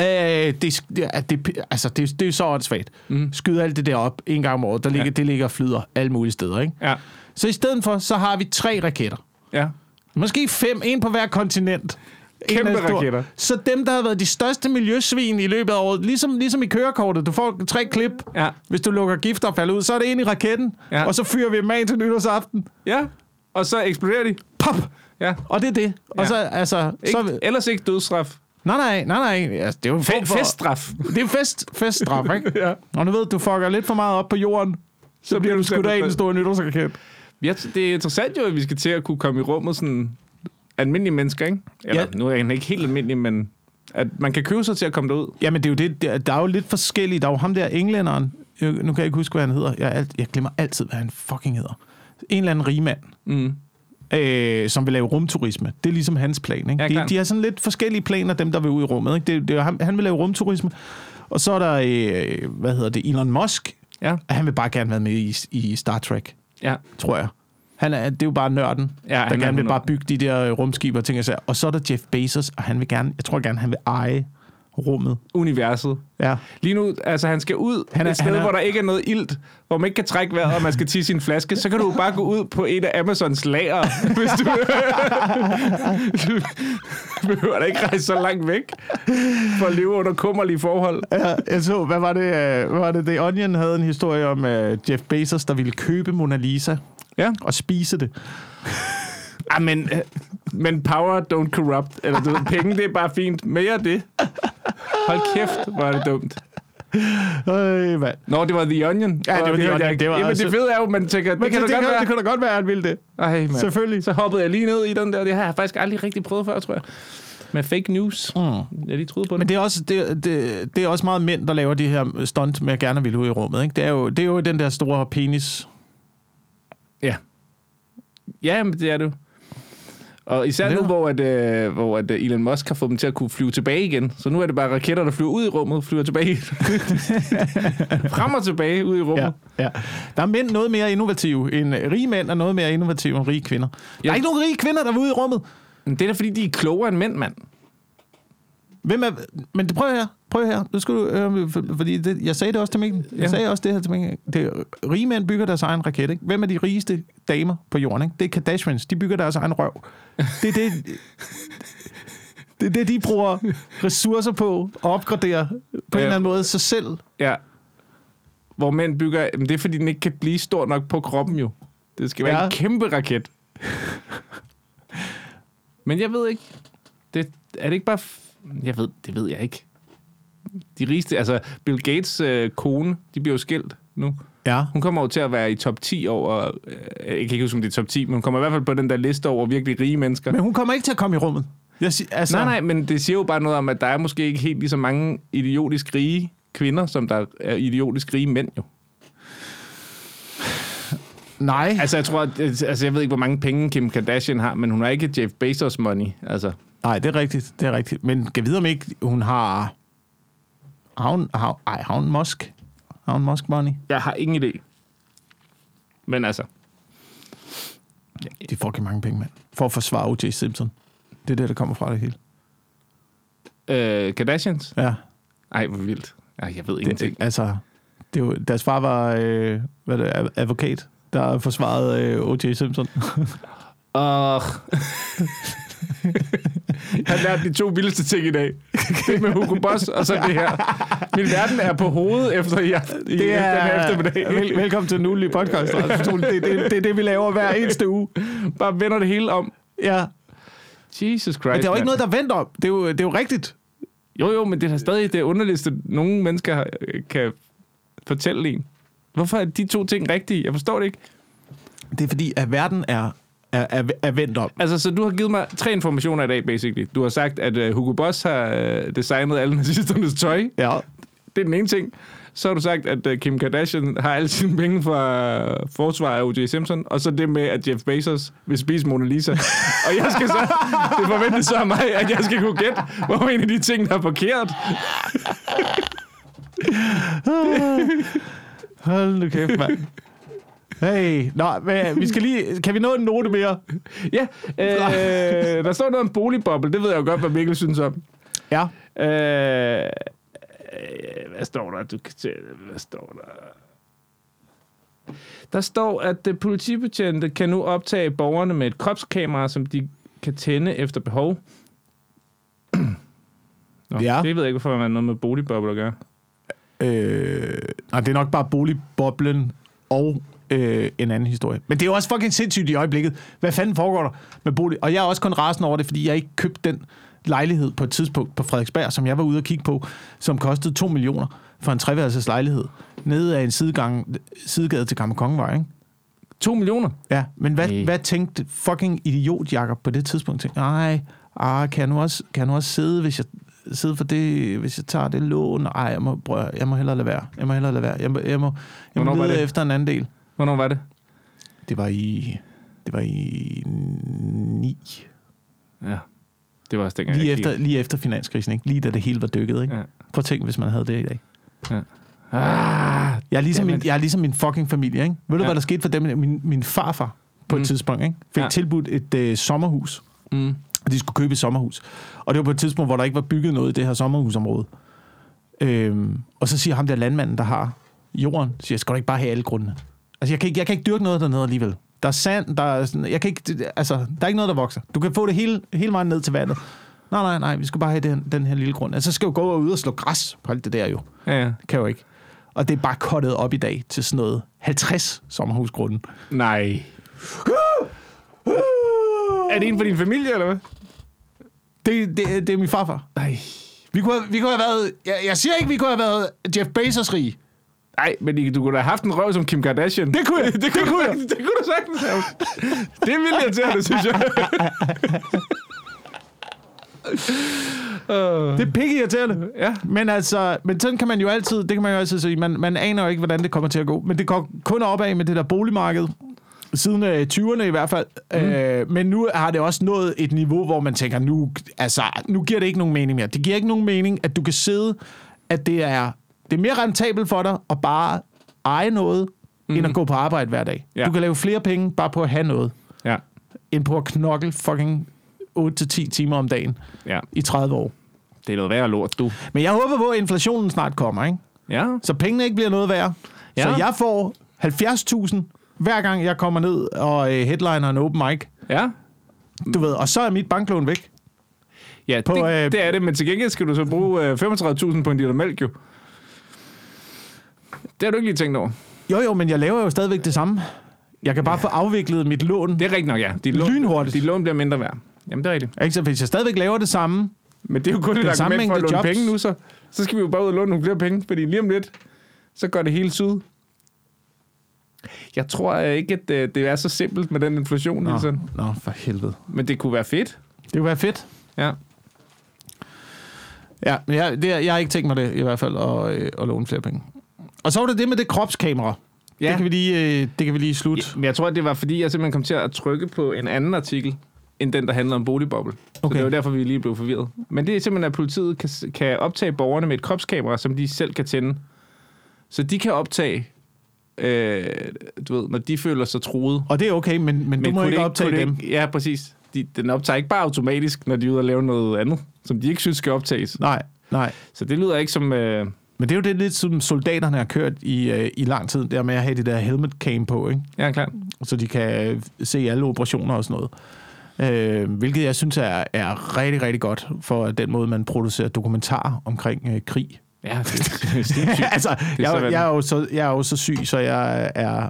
Øh, det, det- at det, altså, det, det er jo så åndssvagt. Mm. Skyde alt det der op en gang om året. Der ligger, ja. Det ligger og flyder alle mulige steder. Ikke?
Ja.
Så i stedet for, så har vi tre raketter.
Ja.
Måske fem, en på hver kontinent. En
Kæmpe
er stor.
raketter.
Så dem, der har været de største miljøsvin i løbet af året, ligesom, ligesom i kørekortet, du får tre klip.
Ja.
Hvis du lukker giftaffald ud, så er det ind i raketten,
Ja.
og så fyrer vi dem af til nytårsaften.
Ja. Og så eksploderer de.
Pop!
Ja.
Og det er det. Og
Ja.
så, altså...
Ikke,
Så,
ellers ikke dødsstraf.
nej, nej, nej, nej. Altså, det er jo en form
Fe-
for...
feststraf.
Det er fest, feststraf, ikke?
Ja.
Og nu ved du, du fucker lidt for meget op på jorden, så bliver du skudt af i den store nytårsraket.
Ja, det er interessant jo, at vi skal til at kunne komme i rummet sådan almindelige mennesker, ikke? Eller,
Ja.
ja. Nu er han ikke helt almindelig, men at man kan købe sig til at komme derud.
Jamen, det er jo det. Der, der er jo lidt forskellige. Der er jo ham der englænderen. Jeg, nu kan jeg ikke huske, hvad han hedder. Jeg, er alt, jeg glemmer altid, hvad han fucking hedder. En eller anden rigmand,
Mm.
øh, som vil lave rumturisme. Det er ligesom hans plan. Ikke?
Ja,
de,
klart.
de har sådan lidt forskellige planer, dem der vil ud i rummet. Ikke? Det, det, er ham, han vil lave rumturisme. Og så er der, øh, hvad hedder det, Elon Musk.
Ja,
Han vil bare gerne være med i, i Star Trek,
ja.
tror jeg. Han er, det er jo bare nørden,
Ja,
der
han er
gerne vil
100.
bare bygge de der øh, rumskibe og ting og sager. Og så er der Jeff Bezos, og han vil gerne, jeg tror gerne, han vil eje rummet.
Universet.
Ja.
Lige nu, altså han skal ud
Han
han
er-
er, et sted,
han er-
hvor der ikke er noget ilt, hvor man ikke kan trække vejret, og man skal tisse i en flaske. Så kan du jo bare gå ud på et af Amazons lager, hvis du... du behøver da ikke rejse så langt væk for at leve under kummerlige forhold.
Ja, jeg så, hvad var det, øh, hvad var det, The Onion havde en historie om uh, Jeff Bezos, der ville købe Mona Lisa
Ja.
og spise det.
Ah, men, øh, men power don't corrupt. Eller du ved, penge, det er bare fint. Mere af det. Hold kæft, hvor er det dumt.
Øh, mand.
Nå, det var The Onion.
Ja, det var
Åh,
The
hørte
Onion,
jeg ikke.
det var
Jamen,
altså-
det fede er jo, man tænker, det,
Men
kan
det,
det, da
det,
godt
kan,
være.
det kan da godt være, at han ville det.
Ej, mand.
Selvfølgelig.
Så hoppede jeg lige ned i den der. Det har jeg faktisk aldrig rigtig prøvet før, tror jeg. Med fake news. Mm. Jeg lige troede på det.
Men det er, også, det, det, det er også meget mænd, der laver de her stunt med at gerne ville ud i rummet. Ikke? Det, er jo, det er jo den der store penis.
Ja. Ja, men det er det jo. Og især
Det
nu,
var-
hvor, at, øh, hvor at øh, Elon Musk har fået dem til at kunne flyve tilbage igen. Så nu er det bare raketter, der flyver ud i rummet, flyver tilbage. Frem og tilbage ud i rummet. Ja.
ja. Der er mænd noget mere innovative end øh, rige mænd, og noget mere innovative end rige kvinder. Der er
Ja.
ikke nogen rige kvinder, der er ude i rummet.
Men det er da, fordi de er klogere end mænd, mand.
Hvem er, men det- prøv her, prøv her. Nu skal du, øh, for- fordi det, jeg sagde det også til Mikkel. Jeg
Ja.
sagde også det her til Mikkel. Det, er- rige mænd bygger deres egen raket, ikke? Hvem er de rigeste damer på jorden, ikke? Det er Kardashians. De bygger deres egen røv. Det er det, det, er det de bruger ressourcer på at opgradere på en
Ja.
eller anden måde sig selv.
Ja. Hvor mænd bygger... Men det er, fordi den ikke kan blive stor nok på kroppen, jo. Det skal være
Ja.
ja. en kæmpe raket. men jeg ved ikke... Det, er det ikke bare... f- Jeg ved, det ved jeg ikke. De rigeste... Altså, Bill Gates' øh, kone, de bliver jo skilt nu.
Ja.
Hun kommer jo til at være i top 10 over... Øh, jeg kan ikke huske, om det er top 10, men hun kommer i hvert fald på den der liste over virkelig rige mennesker.
Men hun kommer ikke til at komme i rummet. Jeg siger, altså,
Nej, nej, men det siger jo bare noget om, at der er måske ikke helt lige så mange idiotisk rige kvinder, som der er idiotisk rige mænd jo.
Nej.
Altså, jeg tror, at, altså, jeg ved ikke, hvor mange penge Kim Kardashian har, men hun har ikke Jeff Bezos money. Altså,
Nej, det er rigtigt. Det er rigtigt. Men kan vide, om ikke hun har... Har hun, har, ej, har hun Musk? Har hun Musk money?
jeg har ingen idé. Men altså,
De får ikke mange penge, mand. For at forsvare O.J. Simpson. Det er det, der kommer fra det hele.
øh, Kardashians?
Ja,
Ej, hvor vildt. Ej, jeg ved
det,
ingenting.
altså, det er jo, deres far var øh, hvad er det, ad- advokat, der forsvarede øh, O.J. Simpson.
Og... jeg har lært de to vildeste ting i dag. Det med Hugo Boss, og så det her. Min verden er på hovedet efter i, aften, i det er... den her eftermiddag.
vel, velkommen til den ugenlige podcast. Rasmus Troels. det, det, det er det, vi laver hver eneste uge.
Bare vender det hele om.
Ja.
Jesus Christ.
Men det er jo ikke
mand.
noget, der venter om. Det er jo, det er jo rigtigt.
Jo, jo, men det er da stadig det underligste, nogle mennesker har- øh, kan fortælle en. Hvorfor er de to ting rigtige? Jeg forstår det ikke.
Det er fordi, at verden er, er, er, er vendt om.
Altså, så du har givet mig tre informationer i dag, basically. Du har sagt, at uh, Hugo Boss har uh, designet alle nazisternes tøj.
Ja.
Det er den ene ting. Så har du sagt, at uh, Kim Kardashian har alle sine penge fra uh, forsvar af O.J. Simpson. Og så det med, at Jeff Bezos vil spise Mona Lisa. og jeg skal så... Det forventes så af mig, at jeg skal kunne gætte, hvor en af de ting, der er forkert.
Hold nu kæft, mand. Hey, nå, men, vi skal lige... Kan vi nå en note mere?
Ja, øh, der står noget om boligboble. Det ved jeg jo godt, hvad Mikkel synes om.
Ja.
Øh, øh, hvad står der? Du kan se, hvad står der? Der står, at øh, politibetjente kan nu optage borgerne med et kropskamera, som de kan tænde efter behov. Nå,
Ja.
ja. Det ved jeg ikke, hvorfor man har noget med boligbobler at gøre.
Øh, nej, det er nok bare boligboblen og øh, en anden historie. Men det er jo også fucking sindssygt i øjeblikket. Hvad fanden foregår der med bolig? Og jeg er også kun rasende over det, fordi jeg ikke købte den lejlighed på et tidspunkt på Frederiksberg, som jeg var ude og kigge på, som kostede 2 millioner for en treværelses lejlighed. Nede af en sidegang, sidegade til Gamle Kongevej, ikke?
To millioner?
Ja, men hvad,
Nej.
hvad tænkte fucking idiot Jakob på det tidspunkt? Tænkte, nej, ah, kan, jeg nu også, kan jeg nu også sidde, hvis jeg, sidde for det, hvis jeg tager det lån? Ej, jeg må, prøv, jeg må hellere lade være. Jeg må hellere lade være. Jeg må, jeg må, jeg må
Hvornår var
lede
det?
efter en anden del.
Hvornår var det?
Det var i... Det var i 9.
Ja. Det var også dengang,
Lige
jeg
efter, lige efter finanskrisen, ikke? Lige da det hele var dykket, ikke?
Ja.
Prøv at tænke, hvis man havde det i dag.
kiggede. Ah,
Jeg er ligesom, min,
Jamen.
jeg er ligesom min fucking familie, ikke? Ved du,
Ja.
hvad der skete for dem? Min, min farfar på et
Mm.
tidspunkt, ikke? Fik
Ja.
tilbudt et øh, sommerhus.
mm.
Og de skulle købe et sommerhus. Og det var på et tidspunkt, hvor der ikke var bygget noget i det her sommerhusområde. Øhm, og så siger ham der landmanden, der har jorden, siger, skal du ikke bare have alle grundene? Altså, jeg kan ikke, jeg kan ikke dyrke noget dernede alligevel. Der er sand, der er sådan, jeg kan ikke, det- altså, der er ikke noget, der vokser. Du kan få det hele, hele vejen ned til vandet. Nej, nej, nej, vi skal bare have den, den her lille grund. Altså, så skal jeg jo gå ud og slå græs på alt det der jo.
Ja, ja.
Kan jeg jo ikke. Og det er bare kottet op i dag til sådan noget 50 sommerhusgrunde.
Nej. Er det en for din familie, eller hvad?
Det, det, det er min farfar.
Nej.
Vi kunne, have, vi kunne have været... Jeg, jeg siger ikke, vi kunne have været Jeff Bezos rig.
Nej, men I- du kunne da have haft en røv som Kim Kardashian.
Det kunne jeg. Det kunne, det kunne jeg.
det kunne du sagtens have. Det er vildt irriterende, synes jeg. uh,
Det er pikke irriterende.
ja.
Men altså, men sådan kan man jo altid, det kan man jo altid sige, man, man aner jo ikke, hvordan det kommer til at gå. Men det går kun opad med det der boligmarked, siden øh, 20'erne i hvert fald. Mm. Øh, men nu har det også nået et niveau, hvor man tænker, nu, altså, nu giver det ikke nogen mening mere. Det giver ikke nogen mening, at du kan sidde, at det er, det er mere rentabelt for dig at bare eje noget, mm. end at gå på arbejde hver dag.
Ja.
Du kan lave flere penge bare på at have noget,
Ja.
end på at knokle fucking 8-10 timer om dagen
Ja.
i 30 år.
Det er noget værre lort, du.
Men jeg håber på, at inflationen snart kommer, ikke?
Ja.
Så pengene ikke bliver noget værd. Ja.
Ja.
Så jeg får 70.000 hver gang jeg kommer ned og øh, headliner en open mic.
Ja.
Du ved, og så er mit banklån væk.
Ja,
På,
på, det,
øh,
øh, det er det, men til gengæld skal du så bruge øh, 35.000 på en liter mælk, jo. Det har du ikke lige tænkt over.
Jo, jo, men jeg laver jo stadigvæk det samme. Jeg kan bare få afviklet mit lån.
Det er rigtigt nok, ja. De
Lynhurtigt.
De lån bliver mindre værd. Jamen, det er rigtigt.
Ikke? Så hvis jeg stadigvæk laver det samme,
Men det er jo kun et
samme
argument for at
mængde
låne
jobs.
penge nu, så. Så skal vi jo bare ud og låne nogle flere penge, fordi lige om lidt, så går det hele syd. Jeg tror øh, ikke, at øh, det er så simpelt med den inflation,
Nå,
Nå.
nå, for helvede.
men det kunne være fedt.
Det kunne være fedt.
Ja.
Ja, men jeg, det, jeg har ikke tænkt mig det i hvert fald, at, øh, at låne flere penge. Og så var det det med det kropskamera. Ja.
Ja.
Det, kan vi lige, øh, det kan vi lige
Ja,
slutte.
Men jeg tror, det var, fordi jeg simpelthen kom til at trykke på en anden artikel, end den, der handler om boligboble. Okay. Så
Okay.
det var derfor, vi lige blev forvirret. Men det er simpelthen, at politiet kan, kan optage borgerne med et kropskamera, som de selv kan tænde. Så de kan optage, øh, du ved, når de føler sig truet.
Og det er okay, men, men, men du må
kunne det
ikke
kunne
optage
det
dem.
Ikke, ja, præcis. De, den optager ikke bare automatisk, når de er ude og lave noget andet, som de ikke synes skal optages.
Nej, nej.
Så det lyder ikke som... Øh,
Men det er jo det lidt, som soldaterne har kørt i, øh, i lang tid, der med at have det der helmet cam på, ikke?
ja, klart.
så de kan øh, se alle operationer og sådan noget. Øh, hvilket jeg synes er, er rigtig, rigtig godt for den måde, man producerer dokumentarer omkring øh, krig.
Ja, det, det, det,
altså, jeg,
sådan.
jeg, er jo så, jeg er jo så syg, så jeg er
Det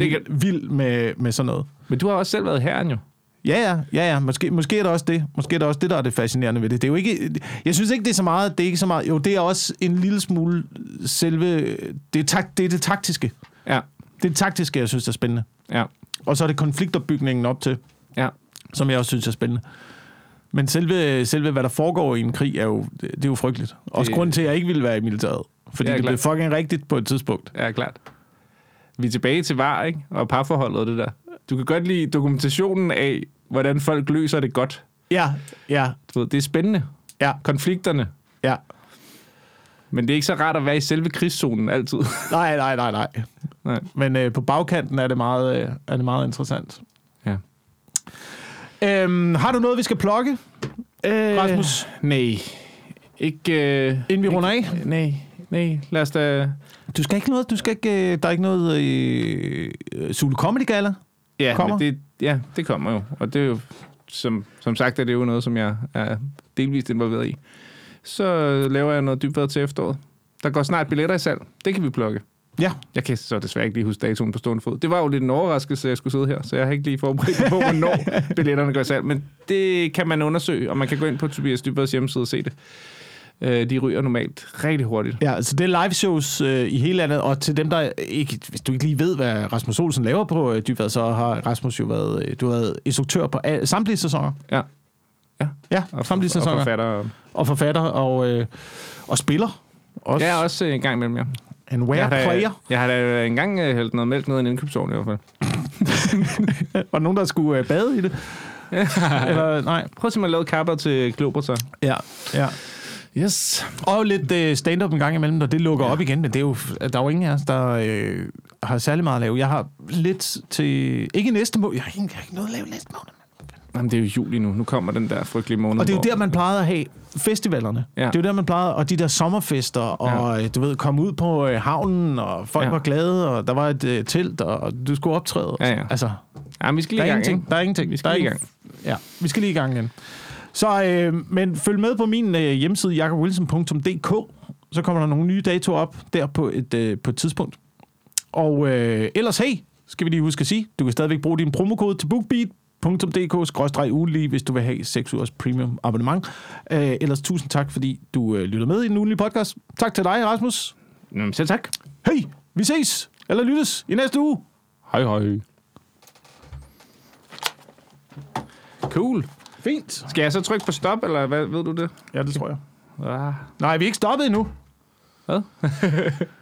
vild,
kan-
vild med, med sådan noget.
men du har også selv været herren jo.
Ja, ja, ja, ja. Måske, måske er det også det. Måske er det også det, der er det fascinerende ved det. Det er jo ikke, jeg synes ikke, det er så meget, det er ikke så meget, jo, det er også en lille smule selve, det er, tak, det, er det taktiske.
Ja,
Det er det taktiske, jeg synes er spændende.
ja,
Og så er det konfliktopbygningen op til,
ja.
som jeg også synes er spændende. Men selve, selve hvad der foregår i en krig, er jo, det det er jo frygteligt. Også
Det-
grunden til, at jeg ikke ville være i militæret. Fordi
Ja,
ja, det
klart.
blev fucking rigtigt på et tidspunkt.
Ja, klart. Vi er tilbage til var, ikke? Og parforholdet og det der. Du kan godt lide dokumentationen af, hvordan folk løser det godt.
Ja, ja,
Du ved, det er spændende.
Ja.
Konflikterne.
ja.
Men det er ikke så rart at være i selve krigszonen altid.
Nej, nej, nej, nej.
Nej.
Men øh, på bagkanten er det meget, øh, er det meget interessant.
Ja.
Øhm, har du noget, vi skal plukke,
Øh,
Rasmus?
Nej, Ikke, øh,
Inden vi
ikke-
runder af?
Nej, nej. Lad os da...
Du skal ikke noget, du skal ikke, øh, der er ikke noget øh, øh, Zulu Comedy Gala.
Ja,
Kommer?
kommer. Det, ja, det kommer jo. Og det er jo, som, som sagt, er det jo noget, som jeg er delvist involveret i. Så øh, laver jeg noget dybvad til efteråret. Der går snart billetter i salg. Det kan vi plukke.
Ja.
Jeg kan så desværre ikke lige huske datoen på stående fod. Det var jo lidt en overraskelse, at jeg skulle sidde her, så jeg har ikke lige forberedt mig på, hvornår billetterne går i salg. Men det kan man undersøge, og man kan gå ind på Tobias Dybvads hjemmeside og se det. Øh, De ryger normalt rigtig hurtigt.
Ja, så det er live shows øh, i hele landet, og til dem, der ikke, hvis du ikke lige ved, hvad Rasmus Olsen laver på øh, Dybvad, så har Rasmus jo været, øh, du har været instruktør på al, samtlige sæsoner.
Ja. Ja.
Ja,
Og,
samtlige
og
sæsoner. Og forfatter,
forfatter. og-
og, forfatter, og, øh, og spiller. Også.
Ja, også øh, en gang imellem, ja.
En where
jeg har, da-
player.
Jeg har da engang øh, hældt noget mælk ned i en indkøbsovn i hvert fald.
Var der nogen, der skulle øh, bade i det? Eller, nej.
Prøv at se, man lavede kapper til Globerter.
Ja, ja.
Yes.
Og lidt øh, stand-up en gang imellem, når det lukker ja. op igen, men det er jo, der er jo ingen af os, der øh, har særlig meget at lave. Jeg har lidt til... Ikke næste måned. Jeg har ikke, jeg har ikke noget at lave næste måned.
Jamen, det er jo juli nu. Nu kommer den der frygtelige måned.
Og det er jo
hvor-
der, man plejede at have festivalerne. Ja.
Ja.
Det er jo der, man plejede, og de der sommerfester, og ja. du ved, komme ud på øh, havnen, og folk ja.
Ja.
var glade, og der var et øh, telt, og du skulle optræde.
Ja, ja.
Altså,
Jamen, vi skal
der
lige
er,
i gang,
ingenting,
ikke?
der er ingenting.
Vi
der
skal
er
lige i
ingen- Ja, vi skal lige i gang igen. Så, øh, men følg med på min øh, hjemmeside, jakobwilson.dk. Så kommer der nogle nye datoer op der på et, øh, på et tidspunkt. Og øh, ellers, hey, skal vi lige huske at sige, du kan stadigvæk bruge din promokode til bookbeat.dk-ugenlig, hvis du vil have 6 ugers premium abonnement. Øh, ellers tusind tak, fordi du øh, lytter med i den ugenlige podcast. Tak til dig, Rasmus.
Jamen, selv tak.
Hey, vi ses, eller lyttes i næste uge.
Hej, hej. Cool.
Fint.
Skal jeg så trykke på stop, eller hvad ved du det?
Ja, det tror jeg.
Ah.
Nej, vi er ikke stoppet endnu.
Hvad?